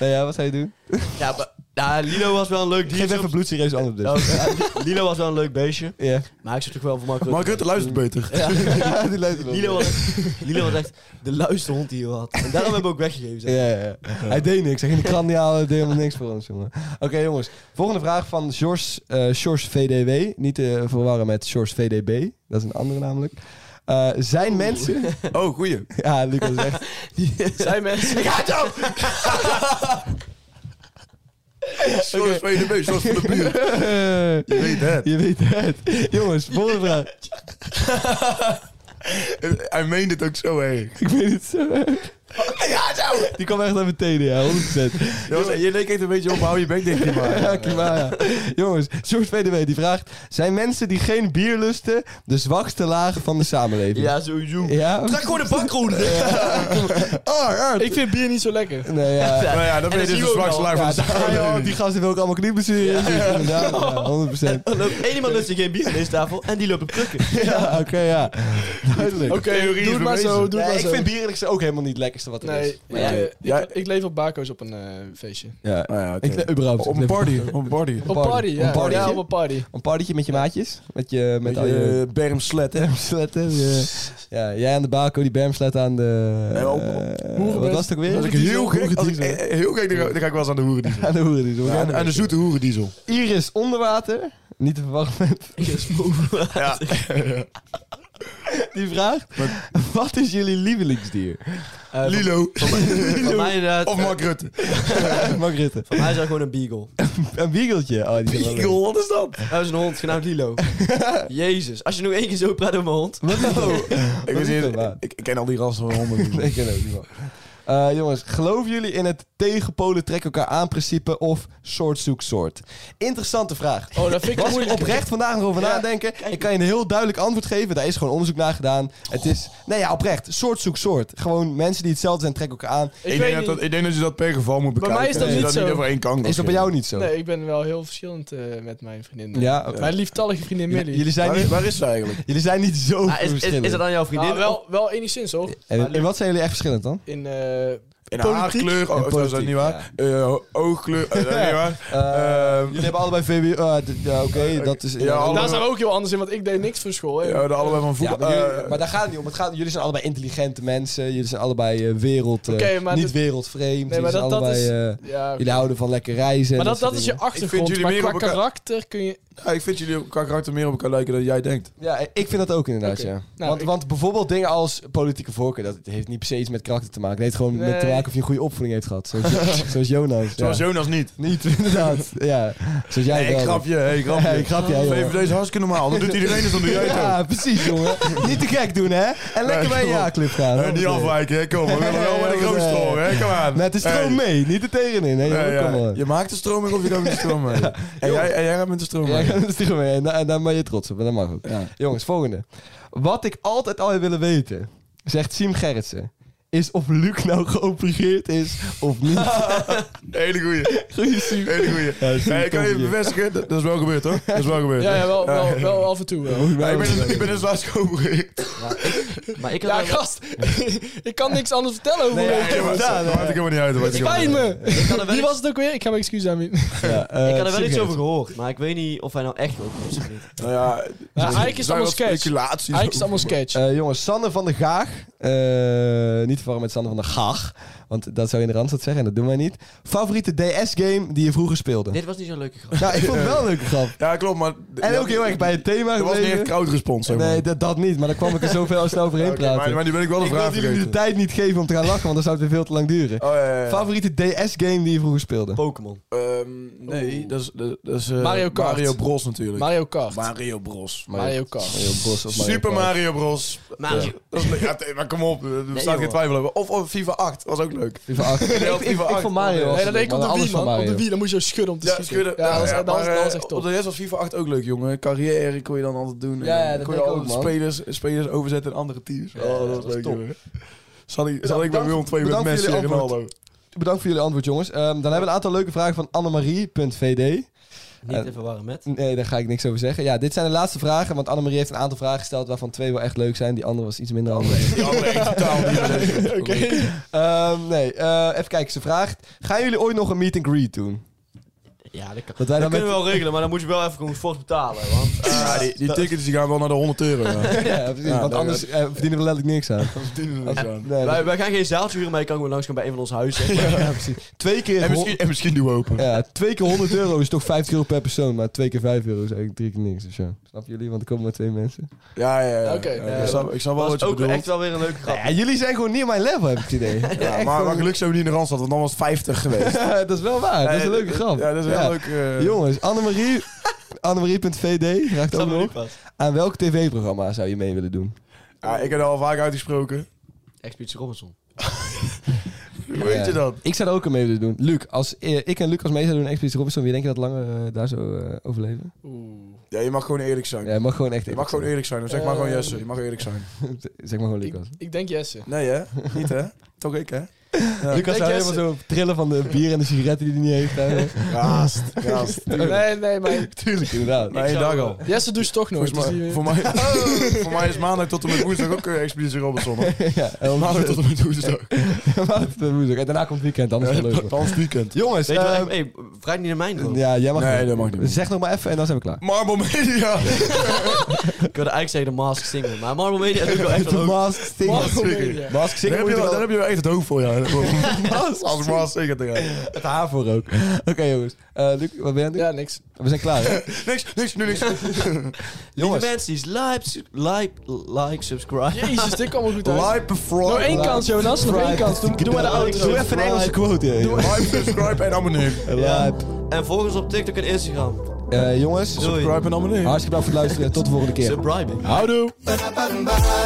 C: Nee, ja, wat zou je doen?
E: Ja, maar, nou, Lilo was wel een leuk dier.
C: Geef even
E: soms.
C: bloedserieus antwoord dus.
E: Nou, ja, Lilo was wel een leuk beestje.
C: Ja.
E: Maar ik zou toch wel voor Mark Rutte.
F: Mark Rutte luistert beter.
C: Ja, die luistert wel.
E: Lilo was, Lilo was echt de luiste hond die je had. En daarom hebben we ook weggegeven. zeg.
C: Ja, ja, ja. Hij deed niks. Hij ging de krant niet halen. Hij deed helemaal niks voor ons, jongen. Oké, jongens. Volgende vraag van George, eh George VDW. Niet te verwarren met George VDB. Dat is een andere namelijk. Eh, zijn mensen...
F: Oh, goeie.
C: Ja, Lucas is echt...
D: Zijn mensen.
E: Ja, toch?
F: Zoals VDB, zoals van de buurt. Je weet het.
C: Je weet het. Jongens, volgende vraag.
F: Hij meent het ook zo erg.
C: Ik weet het zo erg.
F: Ja, zo!
C: Die kwam echt uit mijn tenen, ja. 100%.
F: Jongens, je leek echt een beetje op, hou je bek dicht, die maar.
C: Ja, Kimara. Jongens, George VDW die vraagt... Zijn mensen die geen bier lusten de zwakste laag van de samenleving?
E: Ja, sowieso.
C: Ja?
E: Trek gewoon de bak groen.
C: Ah, ah.
D: Ik vind bier niet zo lekker.
C: Nee, ja.
F: Nou ja, dan ben je
E: dat
F: dus
E: zien
F: de
E: we ook
F: zwakste
E: al.
C: Ja,
F: laag van de
C: die,
F: samenleving.
C: die gasten wil ook allemaal knieblessuren. Ja. inderdaad, ja, 100%.
E: Er loopt één iemand lustig geen bier aan deze tafel en die loopt op krukken.
C: Ja, oké, ja. Duidelijk.
D: Oké,
F: theorie
D: doe
F: is
D: het maar
F: bewezen.
D: zo. Doe het
C: Nee,
D: maar
C: ik
D: zo.
C: vind bier eerlijk gezegd ook helemaal niet het lekkerste wat er
D: Nee,
C: is.
D: ik
E: Ja,
D: ik, eh,
F: ja.
D: ik, ik leef op bako's op een eh, feestje.
C: Ja.
F: Nou ja, oké.
C: Ik le- überhaupt.
F: Op een party. Op een party.
D: Op
C: party.
D: party, ja.
C: Op party.
D: Ja, op een party.
C: Een partytje met je maatjes. Met je, met
F: Met
C: al je
F: je bermslet, eh, hè?
C: bermsletten. je- Ja, jij aan de bako, die bermslet aan de...
F: Ja, op- op-
C: eh,
F: hoerenbest.
C: wat was het ook weer?
F: Als ik heel gek, als ik
C: Hoerendiesel.
F: eh, heel gek, dan ga- dan ga ik wel eens aan de hoerendiesel.
C: Aan de hoerendiesel. We
F: Ja,
C: gaan
F: aan, aan de
C: erbij.
F: zoete hoerendiesel.
C: Iris onder water. Niet te verwachten met
F: Ja.
C: die vraag. Wat is jullie lievelingsdier?
F: Lilo.
E: Voor Eh, mij inderdaad.
F: Of Mark Rutte.
C: Mag ritten.
E: Voor mij is dat gewoon een beagle.
C: Een biegeltje. Oh, die is wel leuk.
F: Eagle, wat is dat?
E: Dat Nou, is een hond, genaamd Lilo. Jezus, als je nu één keer zo praat over mijn hond.
F: Ik,
C: Oh. is
F: weet niet,
C: dat, man?
F: ik, ik ken al die rassen van honden.
C: Nee, ik ken ook niet wel. Eh, jongens, geloven jullie in het tegenpolen trek elkaar aan principe of soort zoekt soort? Interessante vraag.
D: Oh, dat vind ik
C: Was ik
D: moeilijk.
C: oprecht vandaag nog over
D: Ja,
C: nadenken. Ik kan je een heel duidelijk antwoord geven. Daar is gewoon onderzoek naar gedaan. Het is, nee ja, oprecht. Soort zoekt soort. Gewoon mensen die hetzelfde zijn trekken elkaar aan.
F: Ik, denk dat, dat- ik denk dat je dat per geval moet
D: Bij
F: bekijken.
D: mij is dat
F: je
D: niet
F: dat niet
D: zo.
F: over één kan.
C: Is dat bij jou niet zo?
D: Nee, ik ben wel heel verschillend eh, met mijn vriendin.
C: Ja,
D: Mijn lieftallige vriendin
C: Jullie,
D: Millie.
C: jullie zijn
F: Waar,
C: niet,
F: waar is ze eigenlijk?
C: jullie zijn niet zo
E: Ah, is, is,
C: verschillend.
E: is dat dan jouw vriendin?
D: Nou, wel, wel enigszins hoor.
C: Eh, en, en wat zijn jullie echt verschillend dan?
D: In, eh,
F: In
C: Politiek?
F: haarkleur,
C: In
F: oh, dat is dat
C: politiek,
F: niet waar. Eh, oogkleur, eh, dat is niet waar.
C: Eh,
F: Ehm,
C: jullie hebben allebei VWO. ah, d- ja, Oké, dat is...
F: Ja,
C: ja,
F: allebei-
D: daar zijn we ook heel anders in, want ik deed niks voor school. hè.
F: ja, de allebei van
C: Ja,
F: voetbal.
C: maar, jullie-
F: eh,
C: maar daar gaat het niet om. Het gaat, jullie zijn allebei intelligente mensen. Jullie zijn allebei eh, wereld... eh,
D: Oké, maar
C: niet
D: dat-
C: wereldvreemd.
D: maar
C: jullie, zijn
D: dat- dat
C: allebei,
D: is-
C: eh,
D: Ja,
C: jullie houden van lekker reizen.
D: maar
C: en
D: dat, dat
C: soort
D: is je
C: dingen.
F: Ik vind
D: achtergrond.
F: jullie
D: Maar
F: meer
D: qua
F: op elkaar-
D: karakter kun je...
F: ja, ik vind jullie qua karakter meer op elkaar lijken dan jij denkt.
C: Ja, ik vind dat ook inderdaad,
D: Oké.
C: ja.
D: Nou,
C: want,
D: ik-
C: want bijvoorbeeld dingen als politieke voorkeur... dat heeft niet per se iets met karakter te maken. Het heeft gewoon met te
D: Nee.
C: maken of je een goede opvoeding heeft gehad. Zoals, zoals Jonas.
F: Zoals
C: ja.
F: Jonas niet.
C: Niet, inderdaad. Ja. Zoals jij
F: Nee,
C: wel.
F: ik grapje, hey, grapje.
C: Ja, ik grapje, ja, joh.
F: VVD is hartstikke normaal. Dat doet iedereen, dus dan doe jij het ook.
C: Ja, precies, jongen. niet te gek doen, hè? En lekker bij je
F: kom op.
C: ja-club gaan.
F: Hé,
C: hoor.
F: Eh, niet afwijken, hè. kom. We willen wel met de grote stroom, hè. Kom aan.
C: Met de stroom
F: Hey.
C: mee, niet er tegenin. Nee,
F: Ja,
C: jongen,
F: ja.
C: kom maar.
F: Je maakt de stroom mee of je gaat met de stroom mee. En jij, en jij gaat met de stroom
C: Ja,
F: mee.
C: dat is er mee. En, da- en daar ben je trots op. En dat mag ook.
F: Ja.
C: Jongens, volgende. Wat ik altijd al heb willen weten, zegt Siem Gerritsen, is of Luc nou geopereerd is of niet.
F: Hele goeie.
C: Goeie Siem.
F: Hele goeie.
C: Ja, zie
F: Hey,
C: ik
F: ik kan je
C: kom hier.
F: bevestigen, dat, dat is wel gebeurd hoor. Dat is wel gebeurd.
D: Ja, ja wel,
F: Ja.
D: wel, wel af en toe. eh. wel.
F: Ja, ik, ben, ik ben dus laatst geopereerd.
E: Oh, Maar ik had
D: Ja,
E: wel-
D: gast. ik kan niks anders vertellen over
C: Nee,
D: hoe
C: ja,
D: ik
F: Nee,
D: heb
F: maar-
C: gedaan,
F: dat maakt ik helemaal niet uit. dat maakt
D: Het
F: ik helemaal
D: spijt
F: niet uit.
D: me.
E: kan er wel
D: Wie
E: iets-
D: was het ook weer? Ik ga mijn excuus aanbieden.
C: Ja, eh,
E: ik had er
C: Siem
E: wel iets over
C: Gerritsen.
E: gehoord, maar ik weet niet of hij nou echt ook is of niet.
F: Nou ja,
D: Ja,
F: er
D: eigenlijk is het
F: zijn
D: allemaal
F: wat
D: sketch.
F: speculaties
D: Eigenlijk is het allemaal
F: over.
D: sketch.
C: Eh, jongens, Sanne van der Gaag. eh, niet verwarren met Sanne van der Gaag. Want dat zou je in de Randstad zeggen en dat doen wij niet. Favoriete DS-game die je vroeger speelde?
E: Dit was niet zo'n leuke grap.
C: Nou, ik vond het wel een leuke grap.
F: Ja, klopt, maar...
C: En ook heel erg bij het thema
F: Er was niet
C: gebleven.
F: echt crowdrespons, zeg maar.
C: Nee, dat, dat niet. Maar dan kwam ik er zoveel snel overheen
F: Oké,
C: praten.
F: maar, maar nu ben ik wel de
C: ik
F: vraag
C: wilde jullie de
F: vergeten.
C: tijd niet geven om te gaan lachen, want dan zou het weer veel te lang duren.
F: Oh, ja, ja, ja.
C: Favoriete DS-game die je vroeger speelde?
E: Pokémon.
F: Ehm, nee, dat is, dat dat is eh,
D: Mario Kart.
F: Mario Bros natuurlijk.
D: Mario Kart.
F: Mario Bros.
D: Mario Kart.
C: Mario Bros of Mario
F: Super
C: Kart.
F: Mario Bros.
E: Maar
F: Ja. Dat is leuk. Ja, t- maar kom op, er staat geen
E: joh.
F: twijfel over. Of, of FIFA 8, was ook leuk.
C: FIFA 8. ik,
F: Ja,
C: ik, ik,
F: FIFA 8.
C: vond Mario
F: Nee,
C: was het
D: Nee, dat
C: leuk,
D: deed ik op
C: maar
D: de
C: alles
D: Wii,
C: van
D: man. Op
C: Mario.
D: de Wii, dan moest je schudden om te
F: Ja,
D: schieten.
F: schudden.
D: Ja, dat was,
F: Ja,
D: dat was,
F: maar,
D: dat was
F: eh,
D: echt
F: Op de
D: top.
F: rest was FIFA 8 ook leuk, jongen. Carrière kon je dan altijd doen.
C: Ja, ja,
F: En
C: dat
F: kon
C: denk
F: je
C: ik
F: al
C: ook, man.
F: spelers, spelers overzetten in andere teams.
C: Ja,
F: oh, dat
C: dat
F: was
C: was
F: leuk,
C: top.
F: jongen. Zal ik, zal ik bij
C: bedankt-
F: Willem 2 met
C: bedankt voor
F: Messi en
C: jullie antwoord.
F: Ronaldo.
C: Bedankt voor jullie antwoord, jongens. Ehm, dan hebben we een aantal leuke vragen van annemarie.vd.
E: niet te verwarren met.
C: Nee, daar ga ik niks over zeggen. Ja, dit zijn de laatste vragen, want Annemarie heeft een aantal vragen gesteld waarvan twee wel echt leuk zijn. Die andere was iets minder handig.
F: Die andere echt totaal niet meer leuk.
C: Ehm, nee, eh, even kijken. Ze vraagt, gaan jullie ooit nog een meet and greet doen?
E: Ja, dat kan.
C: Dat wij dan
E: dat
C: met...
E: kunnen we wel regelen, maar dan moet je wel even gewoon fors betalen. Want eh,
F: Ja, die, die tickets die gaan wel naar de 100 euro. Ja. nou,
C: Ja, precies,
F: Ja,
C: want
F: nee,
C: anders eh, verdienen we letterlijk niks aan.
F: Dat verdienen we niks aan.
C: Nee, dat-
E: wij, wij gaan geen zaaltje huren, maar je kan gewoon langs gaan bij een van ons huizen.
C: ja, precies. Twee keer...
F: En
C: hon-
F: misschien, en misschien doen we open.
C: Ja, twee keer 100 euro is toch 50 euro per persoon. Maar twee keer 5 euro is eigenlijk drie keer niks. Dus ja, snap jullie? Want er komen maar twee mensen.
F: Ja, ja, ja.
D: Oké.
F: Ja, ik, snap, ik snap wel
E: Dat
F: wat
E: is
F: je
E: ook
F: bedoelt.
E: echt wel weer een leuke grap.
C: Ja, jullie zijn gewoon niet aan mijn level, heb ik het idee.
F: Ja, maar, maar gelukkig zijn we niet in de Randstad, want dan was het 50 geweest.
C: dat is wel waar. Dat is een leuke grap.
F: Ja, dat is een heel leuk... eh,
C: Jongens, Annemarie... Annemarie.vd vraagt
E: Dat
C: ook
E: is
C: nog...
E: pas.
C: Aan welk tv-programma zou je mee willen doen?
F: ja, ik heb er al vaak uitgesproken.
E: Expeditie Robinson.
F: Hoe weet
C: Ja.
F: je dat?
C: Ik zou er ook aan mee willen doen. Luc, als eh, ik en Luc als mee zouden doen in Expeditie Robinson... wie denk je dat langer eh, daar zou eh, overleven?
D: Oeh.
F: Ja, je mag gewoon eerlijk zijn.
C: Ja, je mag gewoon echt...
F: Je mag gewoon eerlijk zijn. Dan zeg maar gewoon Jesse. Je mag eerlijk zijn.
C: Zeg maar gewoon Luc.
D: Ik,
C: als-
D: ik denk Jesse.
F: Nee hè? Niet hè? Toch ik hè?
C: Lucas
D: Denk
C: zou
D: jij
C: helemaal zo trillen van de bier en de sigaretten die hij niet heeft. hè.
F: Raast, raast.
D: Nee, nee, maar
C: Tuurlijk, inderdaad.
F: Maar één dag al.
D: Jesse doucht toch nooit.
F: Volgens
D: dus
F: mij,
D: die-
F: voor, mij, voor mij is maandag tot en met woensdag ook eh, Expeditie Robinson. hoor.
C: Ja, en
F: Maandag tot en met woensdag.
C: En daarna komt het weekend, anders wel leuk.
F: Dans weekend.
C: Jongens,
E: Weet je
C: eh,
E: wel, hey, vraag niet naar mijn droom.
C: ja, jij mag
F: Nee,
C: niet.
F: dat mag niet.
C: Zeg nog maar even en dan zijn we klaar.
F: Marble Media.
E: Ik wilde eigenlijk zeggen de Mask Singer, maar Marvel Media doet wel
C: De
E: echt wel ook.
C: Mask Singer.
D: Mask Singer.
C: Mask
F: Daar
C: Singer
F: heb,
C: moet je
F: je, wel- daar
C: wel
F: heb je wel echt het hoofd voor, ja. Als Maas zeker te gaan.
C: het haar voor ook. Oké jongens, Eh, Luc, wat ben je aan het doen?
D: Ja, niks.
C: We zijn klaar hè?
F: Niks, niks, nu niks.
E: Lieve
C: Jongens.
E: mensen, is like, su- like, like, subscribe.
D: Jezus, dit kwam er goed uit.
F: Like, before.
D: Nog één kans, Jonas. Nog één kans. Doe, doe maar de outro.
C: Doe even een Engelse quote. hè, jongens.
F: Like, subscribe en abonneer.
C: Ja.
E: En volg ons op TikTok en Instagram.
C: Eh, jongens,
F: Subscribe en abonneer.
C: hartstikke bedankt voor het luisteren. Tot de volgende keer.
E: Subscribe.
C: Houdoe!